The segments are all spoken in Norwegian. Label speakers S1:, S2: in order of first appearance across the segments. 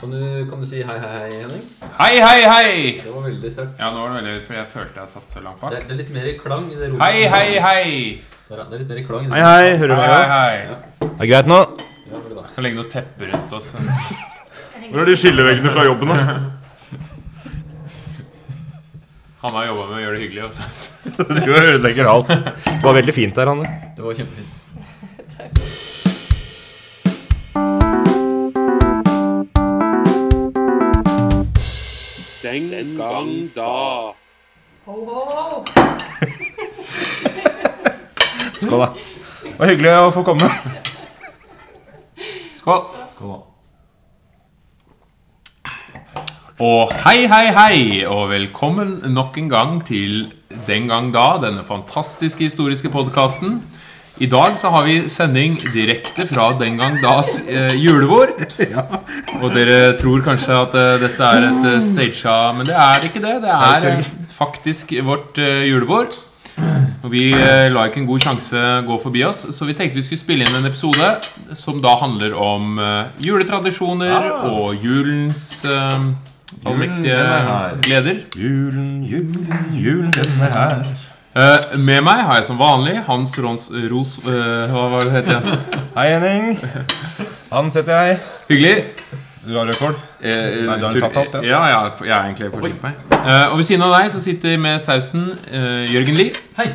S1: Kan du, kan du si hei, hei, hei, Henning?
S2: Hei, hei, hei!
S1: Det var veldig sterkt.
S2: Ja, nå var det veldig høyt, for jeg følte jeg satt så langt
S1: Det
S2: bak.
S1: er, det er litt mer klang i det rommet.
S2: Hei, hei, hei!
S1: Der, ja, Det er litt mer klang i det
S3: Hei, hei, hører du
S2: Hei,
S3: meg?
S2: hei,
S3: da?
S2: hei.
S3: Det er greit nå.
S1: Ja, veldig bra.
S2: Jeg kan legge noe teppe rundt oss.
S3: Hvor er de skilleveggene fra jobben, da?
S2: Han har jobba med å gjøre det hyggelig altså. også.
S3: Du ødelegger alt. Det var veldig fint der, Hanne.
S1: Det var kjempefint.
S4: Den gang da.
S3: Skål, da. Det var hyggelig å få komme.
S2: Skål.
S1: Skål.
S2: Og hei, hei, hei, og velkommen nok en gang til Den gang da, denne fantastiske historiske podkasten. I dag så har vi sending direkte fra Den gang das eh, julebord. Og dere tror kanskje at eh, dette er et eh, stagea, men det er ikke det. Det er eh, faktisk vårt eh, julebord. Og vi eh, la ikke en god sjanse gå forbi oss, så vi tenkte vi skulle spille inn en episode som da handler om eh, juletradisjoner og julens eh, allmektige
S3: Julen Ah. er her.
S2: gleder.
S3: Julen, julen, julen, den er her.
S2: Eh, med meg har jeg som vanlig Hans Rons, Ros... eh, hva var det det het igjen?
S3: Hei, Henning. Han setter jeg.
S2: Hyggelig.
S3: Du har rødkål.
S2: Eh, eh,
S3: Nei, da har du
S2: sur-
S3: tatt alt, ja.
S2: ja, ja, for- jeg er egentlig forsynt meg. Eh, og ved siden av deg så sitter med sausen eh, Jørgen Lie.
S1: Hei.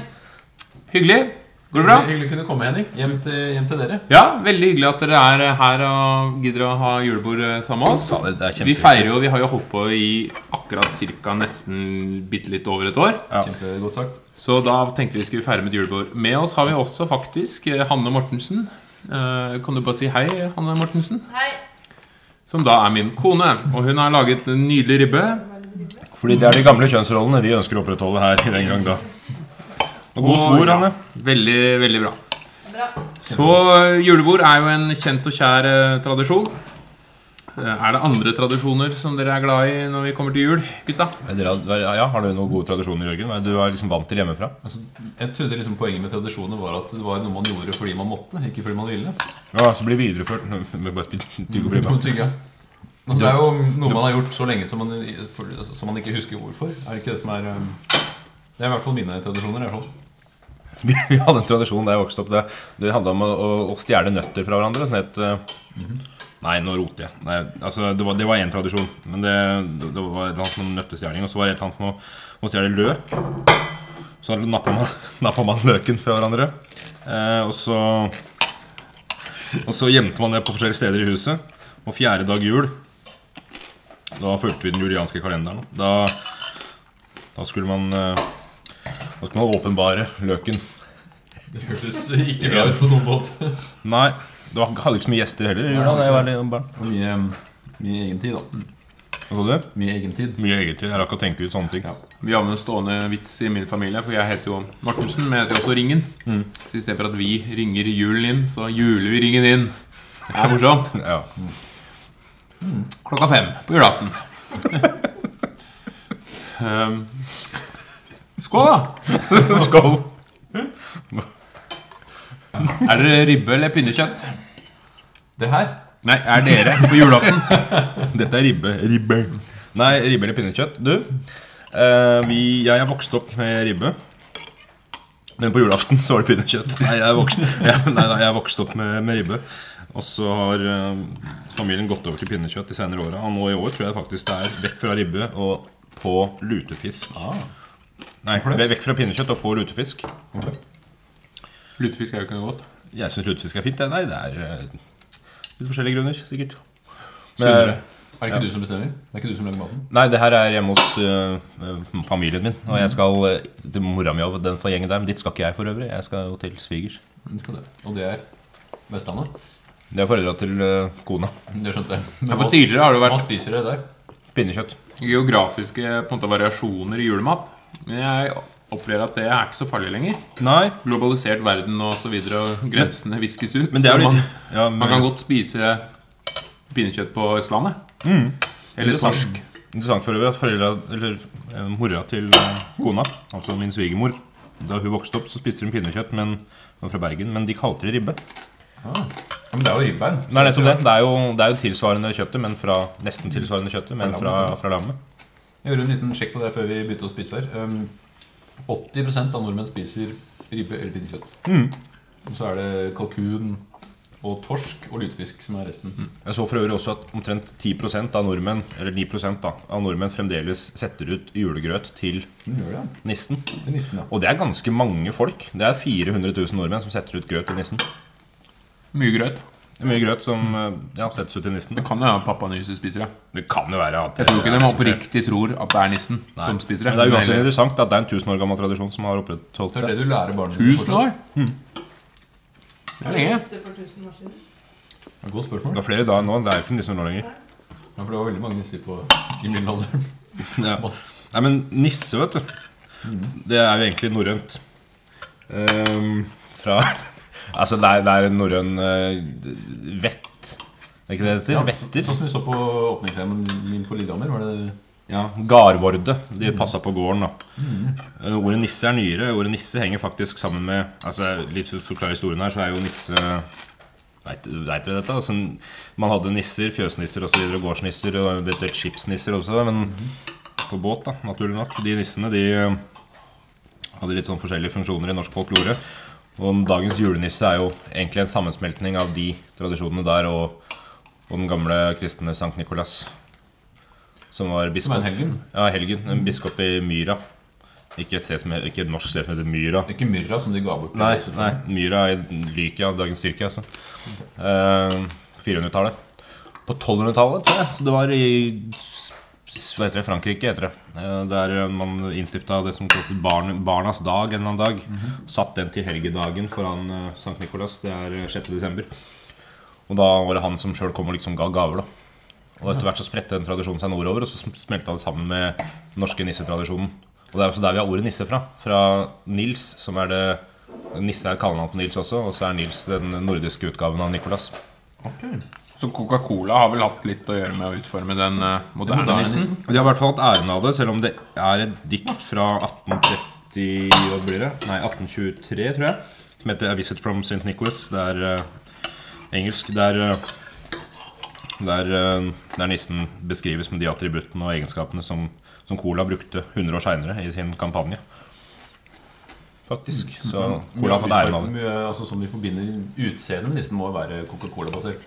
S2: Hyggelig. Går det bra?
S1: Hyggelig å kunne komme, Henning. Hjem til, hjem til dere.
S2: Ja, veldig hyggelig at dere er her og gidder å ha julebord eh, sammen med oss.
S3: Ja, det- det er kjempehyggelig.
S2: vi feirer jo, vi har jo holdt på i akkurat cirka nesten bitte litt over et år.
S3: Ja.
S1: Kjempegodt sagt.
S2: Så da tenkte vi skulle feire med et julebord. Med oss har vi også faktisk eh, Hanne Mortensen. Eh, kan du bare si hei, Hanne Mortensen?
S5: Hei.
S2: Som da er min kone. Og hun har laget en nydelig ribbe.
S3: Fordi det er de gamle kjønnsrollene vi ønsker å opprettholde her i den gang, da. Og
S2: Og-
S3: god svor, Hanne.
S2: Veldig, veldig bra.
S5: Bra.
S2: Så eh, julebord er jo en kjent og kjær eh, tradisjon. Eh, Er det andre tradisjoner som dere er glad i når vi kommer til jul, gutta?
S3: Er dere- Ja, har du noen gode tradisjoner, Jørgen? Hva er det Du er liksom vant til hjemmefra?
S6: Jeg trodde liksom poenget med tradisjoner var at det var noe man gjorde fordi man måtte, ikke fordi man ville.
S3: Ja, så blir videreført Nå må jeg Bare spy- tygge og bry meg.
S6: Tygge. Altså, det er jo noe man har gjort så lenge som man, for, som man ikke husker hvorfor. Er det ikke det som er um, Det er i hvert fall mine tradisjoner. er sånn.
S3: Vi vi hadde en tradisjon da jeg vokste opp. Det, det handla om å, å, å stjele nøtter fra hverandre. Sånn et, eh, Nei, nå roter jeg. Nei, altså, det var det var én tradisjon. Men det, det, det var et eller annet med nøttestjeling. Og så var det et eller annet med å, å stjele løk. Så nappa man, nappa man løken fra hverandre. Eh, og så Og så gjemte man det på forskjellige steder i huset. Og fjerde dag jul Da fulgte vi den julianske kalenderen. Da, da skulle man eh, Da skulle man åpenbare løken
S6: Det hørtes ikke bra ut på noen måte.
S3: Nei, du hadde ikke så mye gjester heller. Gjorde han, jeg var litt barn.
S6: Og Mye, um, mye egentid, da.
S3: Hva sa du?
S6: Mye egentid.
S3: Mye eget Jeg rakk å tenke ut sånne ting.
S6: Ja.
S2: Vi har med en stående vits i min familie, for jeg heter jo Mortensen, men jeg heter jo også Ringen.
S6: Mm.
S2: Så i stedet for at vi ringer julen inn, så juler vi ringen inn. Det er morsomt.
S3: Ja.
S2: Klokka fem på julaften. um, skål, da!
S3: Skål!
S2: Er dere ribbe eller pinnekjøtt?
S6: Det her
S2: Nei, er dere på julaften?
S3: Dette er ribbe. Ribbe. Nei, ribbe eller pinnekjøtt. Du, eh, vi, jeg er vokst opp med ribbe. Men på julaften så var det pinnekjøtt. Nei, jeg er vokst, ja, nei, nei, jeg er vokst opp med, med ribbe. Og så har eh, familien gått over til pinnekjøtt de senere åra. Og nå i år tror jeg faktisk det er vekk fra ribbe og på lutefisk. Nei, det er vekk fra pinnekjøtt og på lutefisk.
S2: Lutefisk er jo ikke noe godt.
S3: Jeg syns lutefisk er fint. jeg. Nei, det er eh, litt forskjellige grunner, sikkert.
S2: Sunnere.
S6: er det ikke du som bestemmer? Det er ikke du som lager maten?
S3: Nei, det her er hjemme hos eh, eh, familien min. Og jeg skal eh, til mora mi og den for gjengen der. Men dit skal ikke jeg for øvrig. Jeg skal jo til svigers.
S6: Du skal det. Og det er Vestlandet?
S3: Det er foreldra til eh, kona.
S6: Det sånn- skjønte jeg.
S2: Ja,
S6: Men
S2: for
S6: hva-
S2: tidligere har det
S6: hva
S2: vært
S6: spiser dere der?
S3: Pinnekjøtt.
S2: geografiske på en måte, variasjoner i julemat. Men jeg opplever at det er ikke så farlig lenger.
S3: Nei,
S2: Globalisert verden og så videre, og grensene viskes ut.
S3: men det er
S2: så
S3: jo
S2: man-
S3: litt ja, men,
S2: Man kan godt spise pinnekjøtt på Østlandet. Eller
S3: Mm. Interessant.
S2: torsk.
S3: Interessant for øvrig at foreldra, eller eh, mora til eh, kona, altså min svigermor Da hun vokste opp, så spiste hun pinnekjøtt men, hun var fra Bergen, men de kalte det ribbe.
S6: Ah, Ja, men det er jo ribbein.
S3: Nei, nettopp det. Det er jo, det er jo tilsvarende kjøttet, men fra, nesten tilsvarende kjøttet, men fra, fra lammet.
S6: Jeg gjorde en liten sjekk på det før vi begynte å spise her. Um, 80 av nordmenn spiser ribbe eller pinnekjøtt.
S3: Mm.
S6: Og så er det kalkun og torsk og lutefisk som er resten.
S3: Jeg så for øvrig også at omtrent 10 av nordmenn eller 9 da, av nordmenn fremdeles setter ut julegrøt til
S6: Den Mm, gjør det, ja.
S3: nissen.
S6: Det er nissen, ja.
S3: Og det er ganske mange folk. Det er 400 000 nordmenn som setter ut grøt til nissen.
S2: Mye grøt.
S3: Det er mye grøt som eh, ja, settes ut til nissen.
S2: Det kan jo være pappa Nyse spiser det.
S3: Det kan jo være at sånn
S2: Jeg tror ikke de oppriktig tror at det er nissen som spiser det.
S3: Men det er
S2: men
S3: uansett
S2: heller-
S3: interessant at det er en 1000 år gammel tradisjon som har opprettholdt
S6: Det er
S3: seg.
S6: det du lærer barna dine
S2: Tusen
S6: fortsatt.
S2: år!
S3: Mm.
S2: Det er lenge.
S5: Nisse for 1000 år siden.
S6: Ja, Godt spørsmål.
S3: Det er flere da enn nå. Det er jo ikke nissen nå lenger.
S6: Ja, for det var veldig mange nisser på i middelalderen.
S3: Ja. Nei, men nisse, vet du Det er jo egentlig norrønt Ehm, Fra Altså, det er, det er en norrøn eh, vett Er ikke det det heter?
S6: Ja,
S3: Vetter
S6: Sånn som vi så på åpningsscenen min på Lillehammer. Var det
S3: Ja, garvorde De passet på gården da Eh, Ordet nisse er nyere Ordet nisse henger faktisk sammen med Altså, litt for å forklare historien her Så er jo nisse Vet, vet dere dette? Altså, man hadde nisser, fjøsnisser og så videre Og gårdsnisser og eventuelt skipsnisser også Men på båt da, naturlig nok De nissene, de eh, hadde litt sånn forskjellige funksjoner i norsk folklore. Og dagens julenisse er jo egentlig en sammensmeltning av de tradisjonene der og, og den gamle kristne Sankt Nikolas. Som var biskop.
S6: Som er en helgen.
S3: Ja, helgen. En biskop i Myra. Ikke et, sted som, he- ikke et norsk sted som heter Myra.
S6: Det er ikke myrra som de ga bort.
S3: Nei,
S6: Det er-
S3: nei Myra er Lykia, dagens styrke, altså. Eh, 400-tallet. På 1200-tallet, tror jeg. Så det var i s- s- hva heter det, Frankrike, heter det. Eh, Der man innstifta det som kalles barn, Barnas dag en eller annen dag. Satt den til helgedagen foran eh, Sankt Nikolas. Det er eh, 6. desember. Og da var det han som sjøl kom og liksom ga gaver, da. Og etter hvert så spredte den tradisjonen seg nordover, og så sm- smelta det sammen med den norske nissetradisjonen. Og det er også der vi har ordet nisse fra. Fra Nils, som er det Nisse er et kallenavn på Nils også, og så er Nils den nordiske utgaven av Nikolas.
S2: Så Coca-Cola har vel hatt litt å gjøre med å utforme den eh, moderne
S6: moderne
S2: nissen.
S3: De har i hvert fall hatt æren av det, selv om det er et dikt fra 1830 Hva blir det? Nei, 1823, tror jeg. Som heter 'A Visit from St. Nicholas'. Det er eh, engelsk. Det er, eh, det er, eh, der nissen beskrives med de attributtene og egenskapene som, som Cola brukte 100 år seinere i sin kampanje. Faktisk. Så Cola har fått æren av det.
S6: Mye, altså, som de forbinder utseendet med nissen, må jo være Coca-Cola-basert.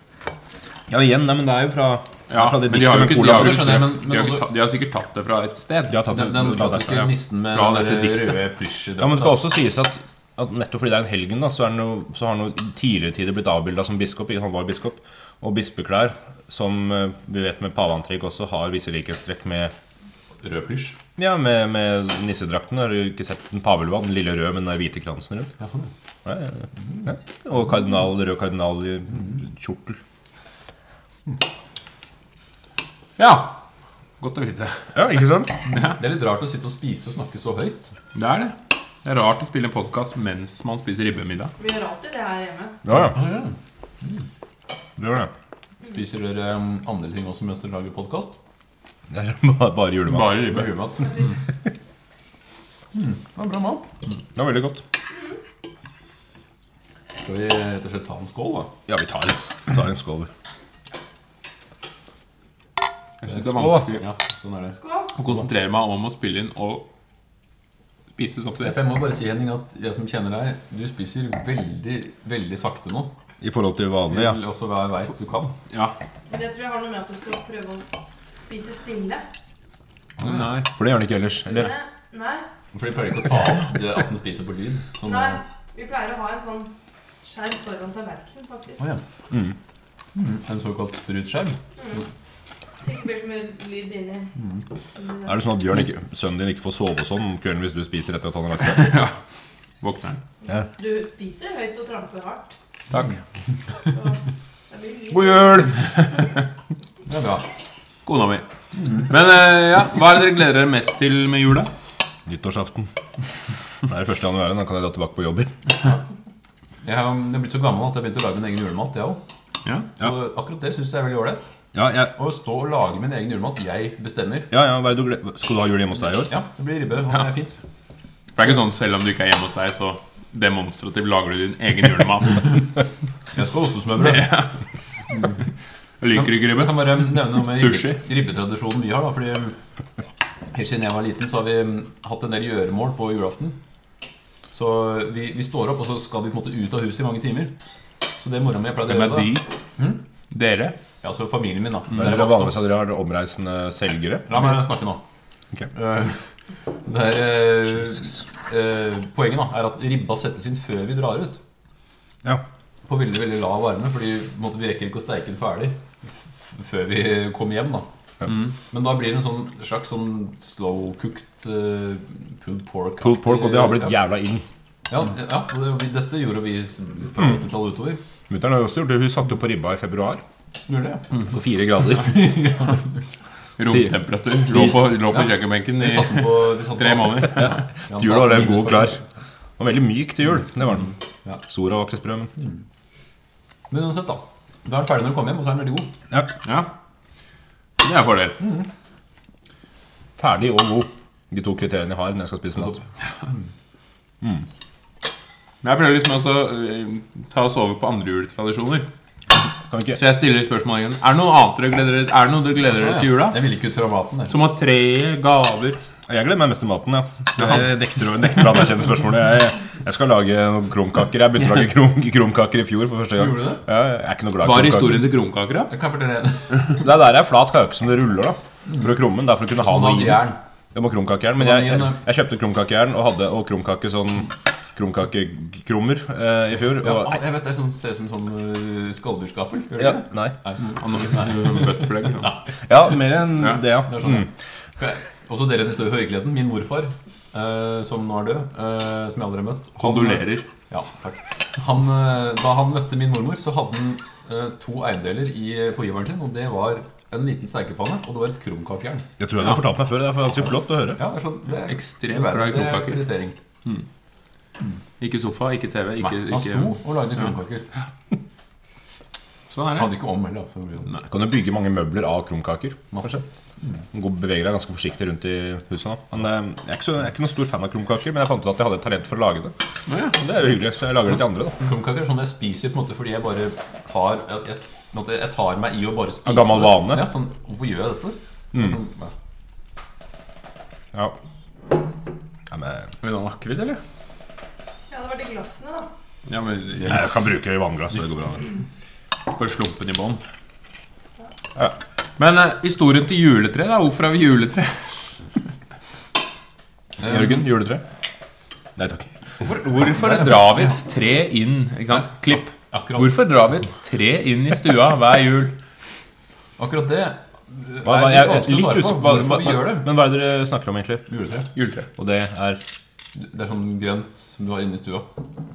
S3: Ja, igjen, nei, men det er jo fra, det er
S2: Ja,
S3: fra det
S2: men de har jo
S3: diktet
S2: ikke, de
S3: med Cola.
S2: har,
S6: det
S2: jo ikke,
S6: skjønner jeg, men- men
S2: de har, ikke
S6: også-
S2: tatt- de har sikkert tatt det fra et sted.
S3: De har tatt
S6: Den,
S3: det-
S6: den
S3: det er
S6: klassiske
S3: derfra, ja.
S6: nissen med
S2: Fra
S6: den
S2: dette
S6: der
S2: diktet.
S6: røde plysjedrakta.
S3: Ja, men det skal også sies at, at nettopp fordi det er en helgen, da, så, er det noe, så har han jo i tidligere tider blitt avbilda som biskop. ikke sant? Han var biskop. Og bispeklær, som eh, vi vet med paveantrekk også har visse likhetstrekk med,
S6: Rød plysj.
S3: ja, med, med nissedrakten. Har du ikke sett den pavelua? Den lille røde med den der hvite kransen rundt.
S6: Ja, sånn.
S3: Ja, ja, ja. Ja. Og kardinal, rød kardinal eh, i kjortel.
S2: Ja, Godt å vite.
S3: Ja, ikke sant?
S6: Det er litt rart å sitte og spise og snakke så høyt.
S2: Det er det. Det er rart å spille en podkast mens man spiser ribbemiddag.
S5: Vi gjør alltid det her hjemme.
S3: Ja, ja. Det gjør det.
S6: Spiser dere um, andre ting også mens dere lager podkast?
S3: Det er bare, bare julemat.
S2: Bare ribbe.
S6: Julemat. Mm. Hmm, Det var bra mat.
S3: Det var veldig godt.
S6: Skal vi rett og slett ta en skål, da?
S3: Ja, vi tar, vi tar en skål.
S2: Jeg synes det er vanskelig
S6: Ja, sånn er det.
S5: Skål.
S2: å konsentrere meg om å spille inn og spise sånn samtidig.
S6: Jeg må bare si, Henning, at jeg som kjenner deg, du spiser veldig, veldig sakte nå.
S3: I forhold til vanlig, ja.
S6: Til også hva jeg vet du kan.
S2: Ja.
S5: Men jeg tror jeg har noe med at du skal prøve å spise stille.
S2: Nei.
S3: For det gjør han ikke ellers. Eller?
S5: Nei, Nei.
S6: For de pleier ikke å ta opp det at den spiser på lyd. Sånn,
S5: Nei. Vi pleier å ha en sånn skjerm foran tallerkenen, faktisk.
S6: Å ja. Mm, En såkalt sprutskjerm.
S5: Mm. Så det ikke blir så mye lyd inni. inni
S3: Mm. Er
S5: der.
S3: det sånn at Bjørn ikke, sønnen din ikke får sove og sånn om kvelden hvis du spiser etter at han har lagt seg?
S2: Våkner den.
S5: Du spiser høyt og tramper hardt.
S3: Takk.
S5: Så det blir lyd.
S3: God jul!
S6: Det er bra.
S2: Kona mi. Men eh, ja, hva er det dere gleder dere mest til med jula?
S3: Nyttårsaften. Det er 1. januar, da kan jeg dra tilbake på jobb.
S6: Jeg har jeg har blitt så gammel at jeg begynte å lage min egen julemat, jeg òg.
S2: Ja.
S6: Så akkurat det syns jeg er veldig ålreit.
S3: Ja, ja,
S6: Å stå og lage min egen julemat. Jeg bestemmer.
S3: ja, ja, hva er det du gleder Skal du ha jul hjemme hos deg i år?
S6: Ja, det blir ribbe. Han er fins.
S2: For det er ikke sånn selv om du ikke er hjemme hos deg, så demonstrativt lager du din egen julemat.
S6: Jeg skal ha ostesmørbrød.
S2: Liker du ikke ribbe?
S6: Jeg kan bare nevne noe med
S2: Sushi.
S6: ribbe- ribbetradisjonen vi har. da Fordi um, Helt siden jeg var liten, så har vi um, hatt en del gjøremål på julaften. Så vi, vi står opp, og så skal vi på en måte ut av huset i mange timer. Så det mora mi pleide å
S2: Hvem
S6: gjøre.
S2: er
S6: da
S2: de? Hm? Dere?
S6: Ja, så familien min, da.
S3: Mm. Det er
S6: Der jeg vokste
S3: vanligvis at dere har omreisende selgere.
S6: opp. La meg snakke nå.
S3: Ok.
S6: Eh, Det er, eh, eh, poenget da, er at ribba settes inn før vi drar ut.
S3: Ja.
S6: På veldig veldig lav varme, fordi på en måte, vi rekker ikke å steike den ferdig f f før vi kommer hjem. da Mm. Men da blir det en sånn slags sånn slow-cooked eh, pulled pork.
S3: Pulled pork, og det har blitt
S6: ja.
S3: jævla inn.
S6: Ja, ja, og det, vi- Dette gjorde vi s- fra
S3: Mm.
S6: 80-tallet utover.
S3: Mutter'n har jo også gjort det. Hun satte jo på ribba i februar.
S6: Gjorde det, ja.
S3: På fire grader.
S2: Romtemperatur. Lå på, lå på kjøkkenbenken i
S6: Vi satte den på, vi satte den
S2: tre
S6: på-
S2: måneder.
S6: Ja,
S3: Til jul var den
S6: da-
S3: god og klar. Den var veldig myk til jul. Det var den.
S6: Ja.
S3: Sora var ikke sprø, men
S6: Men uansett, da. Da er den ferdig når du kommer hjem, og så er den veldig god.
S3: ja.
S2: Ja. Det er en fordel.
S3: Ferdig og god. De to kriteriene jeg har når jeg skal spise mat.
S2: Men jeg prøver liksom også eh, ta oss over på andre juletradisjoner.
S3: Kan vi
S2: Så
S3: ikke
S2: jeg stiller spørsmålet igjen. Er det noe annet dere gleder dere Er det noe dere gleder dere til jula?
S6: Altså, Jeg ville ikke ut fra maten. Jeg.
S2: Som har tre gaver
S3: Jeg gleder meg mest til maten, ja. Jeg nekter, å- nekter å anerkjenne spørsmålet. Jeg, jeg skal lage noen krumkaker. Jeg begynte å lage krum, krumkaker i fjor for første gang.
S6: Gjorde du det?
S3: Ja, jeg er ikke noe glad i
S2: Hva er
S3: krumkaker.
S2: historien til krumkaker, da?
S6: Jeg kan fortelle en.
S3: Det er der er flat kake som det ruller, da. For å krumme den. Det er for å kunne ha
S6: Han
S3: noe
S6: hadde
S3: i den.
S6: jern.
S3: Det var krumkakejern. Men
S6: Han
S3: jeg,
S6: hadde
S3: jeg,
S6: jern,
S3: jeg kjøpte krumkakejern og hadde og krumkake sånn krumkakekrummer eh, i fjor.
S6: Ja,
S3: Og,
S6: å, jeg vet, det er sånn, ser ut som sånn øh, skalldyrskaffel. Gjør det
S3: ja,
S6: ikke det?
S3: nei.
S2: Han har butterplug. da.
S3: Ja, mer enn
S2: Ja.
S3: det, ja.
S6: Det er
S3: Mm.
S6: sånn, ja. Også dere den større høygleden, min morfar, eh, som nå er død, eh, som jeg aldri har møtt. Han-
S2: Kondolerer.
S6: Ja, takk. Han, eh, da han møtte min mormor, så hadde han eh, to eiendeler i, eh, på giveren sin, og det var en liten steikepanne, og det var et krumkakejern.
S3: Jeg tror jeg har fortalt meg før. Det er faktisk flott å høre.
S6: Ja, det er sånn, det er
S2: Ekstremt
S6: det er-
S2: glad i
S6: det er
S2: krumkaker.
S6: prioritering.
S2: Ikke sofa, ikke TV. Ikke,
S6: Nei, han
S2: ikke.
S6: sto og lagde krumkaker.
S2: Sånn er
S6: Han
S2: det.
S6: hadde ikke om heller, altså.
S3: Du kan jo bygge mange møbler av krumkaker.
S6: Masse.
S3: Gå og bevege deg ganske forsiktig rundt i huset. Da. Men eh, jeg er, ikke så, jeg er ikke noen stor fan av krumkaker, men jeg fant ut at jeg hadde et talent for å lage det. Og det er jo hyggelig, så jeg lager det til andre. da
S6: Krumkaker er sånn jeg spiser på en måte fordi jeg bare tar Jeg, jeg, på en måte, jeg tar meg i å bare spise
S3: En gammel
S6: det.
S3: vane?
S6: Ja, sånn, hvorfor gjør jeg dette? Sånn, ja.
S3: Mm. Ja, ja men eh,
S2: Vil du ha akevitt, eller?
S5: Ja, det var de glassene, da.
S2: Ja, men
S3: Nei, Jeg kan bruke vannglass. så Det går bra. det.
S2: På slumpen i bånn. Men eh, historien til juletre, da? Hvorfor har vi juletre?
S3: Jørgen, juletre? Nei takk.
S2: Hvorfor, hvorfor drar vi et tre inn? Ikke sant? Klipp.
S6: Akkurat.
S2: Hvorfor drar vi et tre inn i stua hver jul?
S6: Akkurat det
S3: Hva, hva,
S6: er
S3: jeg,
S6: litt vanskelig å
S3: litt
S6: svare på.
S3: usikker på hva-
S6: Hvorfor vi
S3: hva-
S6: gjør det?
S3: Men hva er det dere snakker om, egentlig?
S6: Juletre.
S2: Juletre.
S3: Og det er
S6: Det er sånn grønt som du har inne i stua.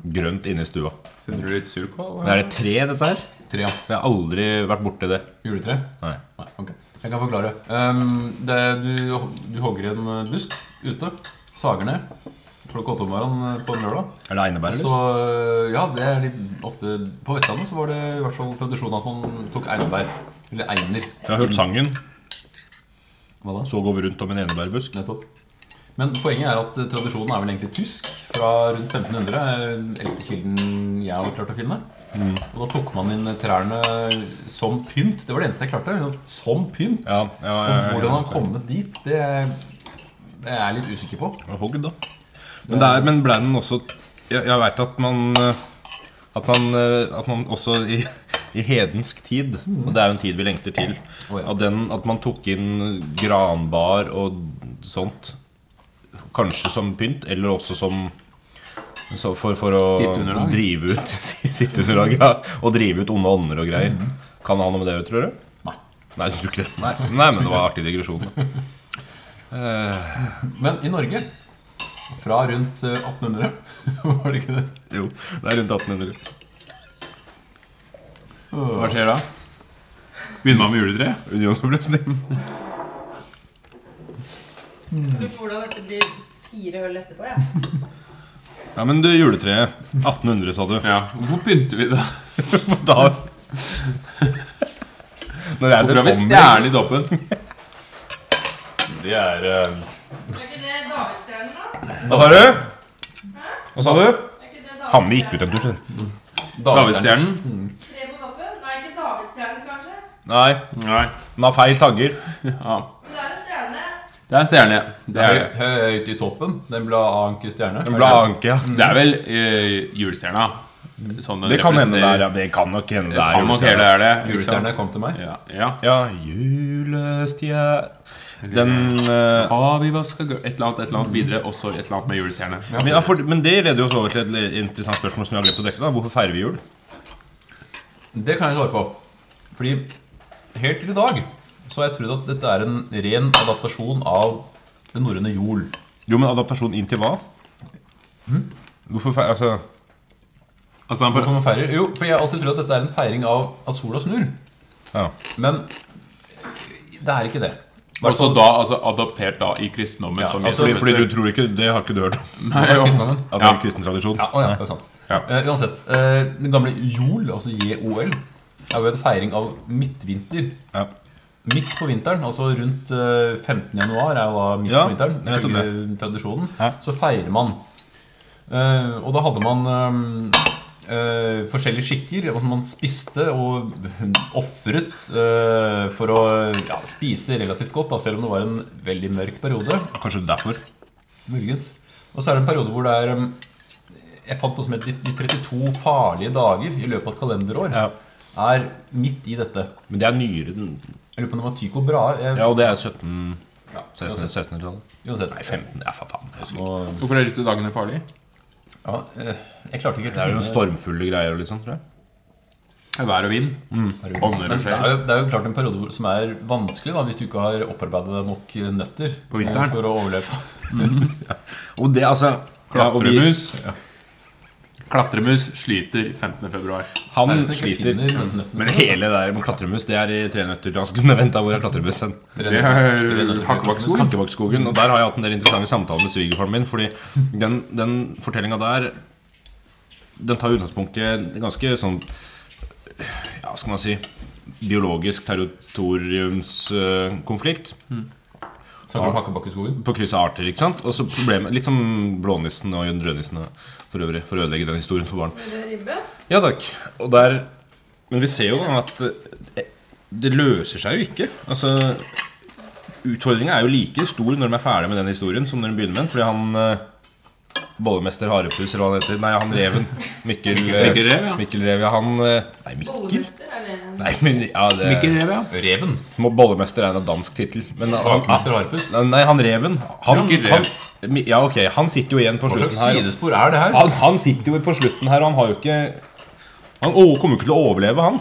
S3: grønt inne i stua.
S2: Sender du litt surkål?
S3: Men er det tre, dette her?
S6: Tre, ja.
S3: Jeg har aldri vært borti det.
S6: Juletre?
S3: Nei.
S6: Nei, ok. Jeg kan forklare. Ehm, det, er- du, du hogger en eh, busk ute. Sager ned. Klokka åtte om morgenen eh, på en lørdag.
S3: Er det einebær, eller?
S6: Så øh, ja, det er litt ofte På Vestlandet så var det i hvert fall tradisjon at man tok einebær. Eller einer.
S3: Jeg har hørt sangen.
S6: Hva da?
S3: Så går vi rundt om en enebærbusk.
S6: Nettopp. Men poenget er at eh, tradisjonen er vel egentlig tysk. Fra rundt 1500 er den eldste kilden jeg har klart å finne.
S3: Mm.
S6: Og da tok man inn trærne som pynt. Det var det eneste jeg klarte. liksom, Som pynt.
S3: Ja, ja, ja, ja,
S6: Og
S3: ja.
S6: hvordan han har kommet dit, det er det er jeg litt usikker på.
S3: Ja, Hogg, da. Men, det er, men ble den også Jeg, jeg veit at man eh, At man, eh, at man også i, i hedensk tid, og det er jo en tid vi lengter til
S6: Å, ja.
S3: at, den, at man tok inn granbar og sånt kanskje som pynt, eller også som så for, for å
S2: Sitteunderlag.
S3: drive ut sitteunderlag. Ja, og drive ut onde ånder og greier. Kan det ha noe med det å gjøre, tror du?
S6: Mhm. Nei.
S3: Nei, du tror ikke det? Nei, Nei men det var artig digresjon. da.
S6: Men i Norge, fra rundt eh, 1800 Var det ikke det?
S3: Jo, det er rundt 1800.
S2: Hva skjer da? Begynner man med juletre?
S3: Unionsoppløsning.
S5: Jeg Lurer på hvordan dette blir fire øl etterpå, jeg. Ja.
S3: Ja, men du, juletreet. 1800, sa du.
S2: Ja. Hvorfor pynter vi det?
S3: Da Når jeg
S2: Hvorfor har vi
S3: kommer
S2: stjerne i toppen?
S3: Det er eh,
S5: Er ikke det davidsstjernen, da?
S3: Hva sa du? Hva sa du?
S5: Er ikke det
S3: Hanne gikk ut en tur. skjønner du.
S2: Davidstjernen?
S5: Tre på toppen? Nei, ikke Davidstjernen, kanskje?
S3: Nei,
S2: Nei.
S3: den har feil tagger.
S2: Ja.
S5: Men det er en stjerne.
S2: Det er en stjerne. Det er, det.
S6: Høyt i toppen. Den ble anke stjerne.
S3: Den ble anke, ja.
S2: Det er vel eh, julestjerna. Sånn den
S3: Det kan hende det
S2: representerer-
S3: er ja. Det kan nok hende det
S2: Det
S3: er
S2: kan nok hele
S3: julestjerne.
S2: er det. ikke sant?
S6: Julestjerne kom til meg.
S2: Ja. ja.
S3: Ja, julestjerne Den eh,
S2: Ah, vi vasker gulv- Et eller annet, et eller annet videre, og så et eller annet med julestjerne.
S3: men, ja, for, men det leder jo oss over til et interessant spørsmål som jeg har glemt å dekke. da Hvorfor feirer vi jul?
S6: Det kan jeg svare på. Fordi helt til i dag så har jeg trodd at dette er en ren adaptasjon av den norrøne jol.
S3: Jo, men adaptasjon inn til hva? Hm? Hvorfor feir... Altså
S2: Altså, han
S6: Hvorfor
S2: får,
S6: man feirer? Jo, fordi jeg har alltid trodd at dette er en feiring av at sola snur.
S3: ja.
S6: Men det er ikke det.
S2: også da, altså adoptert da i kristendommen som
S6: altså,
S3: fordi,
S2: Jesus.
S3: fordi du tror ikke Det har ikke du hørt om?
S2: Nei, jo.
S6: kristendommen.
S3: At det
S2: Ja.
S3: er en kristen tradisjon?
S6: Å ja, det er sant.
S3: Ja.
S6: Eh, uansett. eh, den gamle jol, altså JOL, er jo en feiring av midtvinter.
S3: Ja.
S6: Midt på vinteren, altså rundt eh, 15. januar er jo da midt
S3: Ja,
S6: på vinteren,
S3: jeg vet om
S6: ifølge tradisjonen,
S3: Ja.
S6: så feirer man. Eh, og da hadde man eh, eh, forskjellige skikker. Og man spiste og ofret eh, for å ja, spise relativt godt, da, selv om det var en veldig mørk periode.
S3: Kanskje derfor?
S6: Muligens. Og så er det en periode hvor det er um, Jeg fant noe som het de de 32 farlige dager i løpet av et kalenderår.
S3: Ja.
S6: Er midt i dette.
S3: Men det er nyere den
S6: Jeg lurer på om det var Tycho Brahe. Jeg,
S3: Ja, og det er 17... 1600- 1600-tallet?
S6: Uansett.
S3: Nei, 15 Ja, for faen. Jeg husker ikke.
S6: Og,
S2: Hvorfor er disse dagene farlige?
S6: ja, eh, jeg klarte ikke helt
S3: Det er jo
S6: å
S3: noen
S6: finne-
S3: stormfulle greier og litt sånn, tror jeg. Mm.
S2: Det er Vær og vind. Ånder og
S6: Men det er,
S2: sjel.
S6: jo, det er jo klart en periode hvor- som er vanskelig da, hvis du ikke har opparbeidet deg nok eh, nøtter
S2: På vinteren.
S6: eh, for å overleve.
S3: Og det, altså ja, og vi,
S2: Klatremus. Klatremus sliter 15. februar.
S3: Han
S6: Særlig hvis du ikke
S3: sliter.
S6: finner nøttene
S3: Men
S6: sine.
S3: hele det der med klatremus, det er i Tre nøtter til Asken. Jeg ventet, hvor er klatremusen?
S2: Det er Hakkebakksskog.
S3: Hakkebakkeskogen. Og der har jeg hatt en del interessante samtaler med svigerfaren min, fordi den, den fortellinga der Den tar utgangspunkt i en ganske sånn Ja, skal man si Biologisk territoriumskonflikt eh,
S6: Snakker du om Hakkebakkeskogen?
S3: på kryss av arter. ikke sant? Og så problemet, Litt som blånissen og rødnissen for øvrig, for å ødelegge den historien for barn.
S5: Vil du ha ribbe?
S3: Ja takk. Og der Men vi ser jo da at eh, det løser seg jo ikke. Altså Utfordringa er jo like stor når de er ferdig med den historien, som når de begynner med den. Fordi han eh, bollemester Harepus, eller hva han heter Nei, han Reven. Mikkel, eh,
S2: Mikkel Rev, ja.
S3: Mikkel Rev, ja. Han eh, Nei, Mikkel?
S5: Bollemester, er det en
S3: Nei, men ja, det
S2: Mikkel Rev, ja.
S6: Reven.
S3: Må- Bollemester er en dansk tittel. Men han, ah,
S6: Bakmester Harpus.
S3: Nei, han Reven. Han,
S2: Mikkel Rev.
S3: han, ja, ok. Han sitter jo igjen på
S6: Hva
S3: slutten
S6: slags
S3: her.
S6: sidespor er det her?
S3: Han, han sitter jo på slutten her, og han har jo ikke Han å- kommer jo ikke til å overleve, han.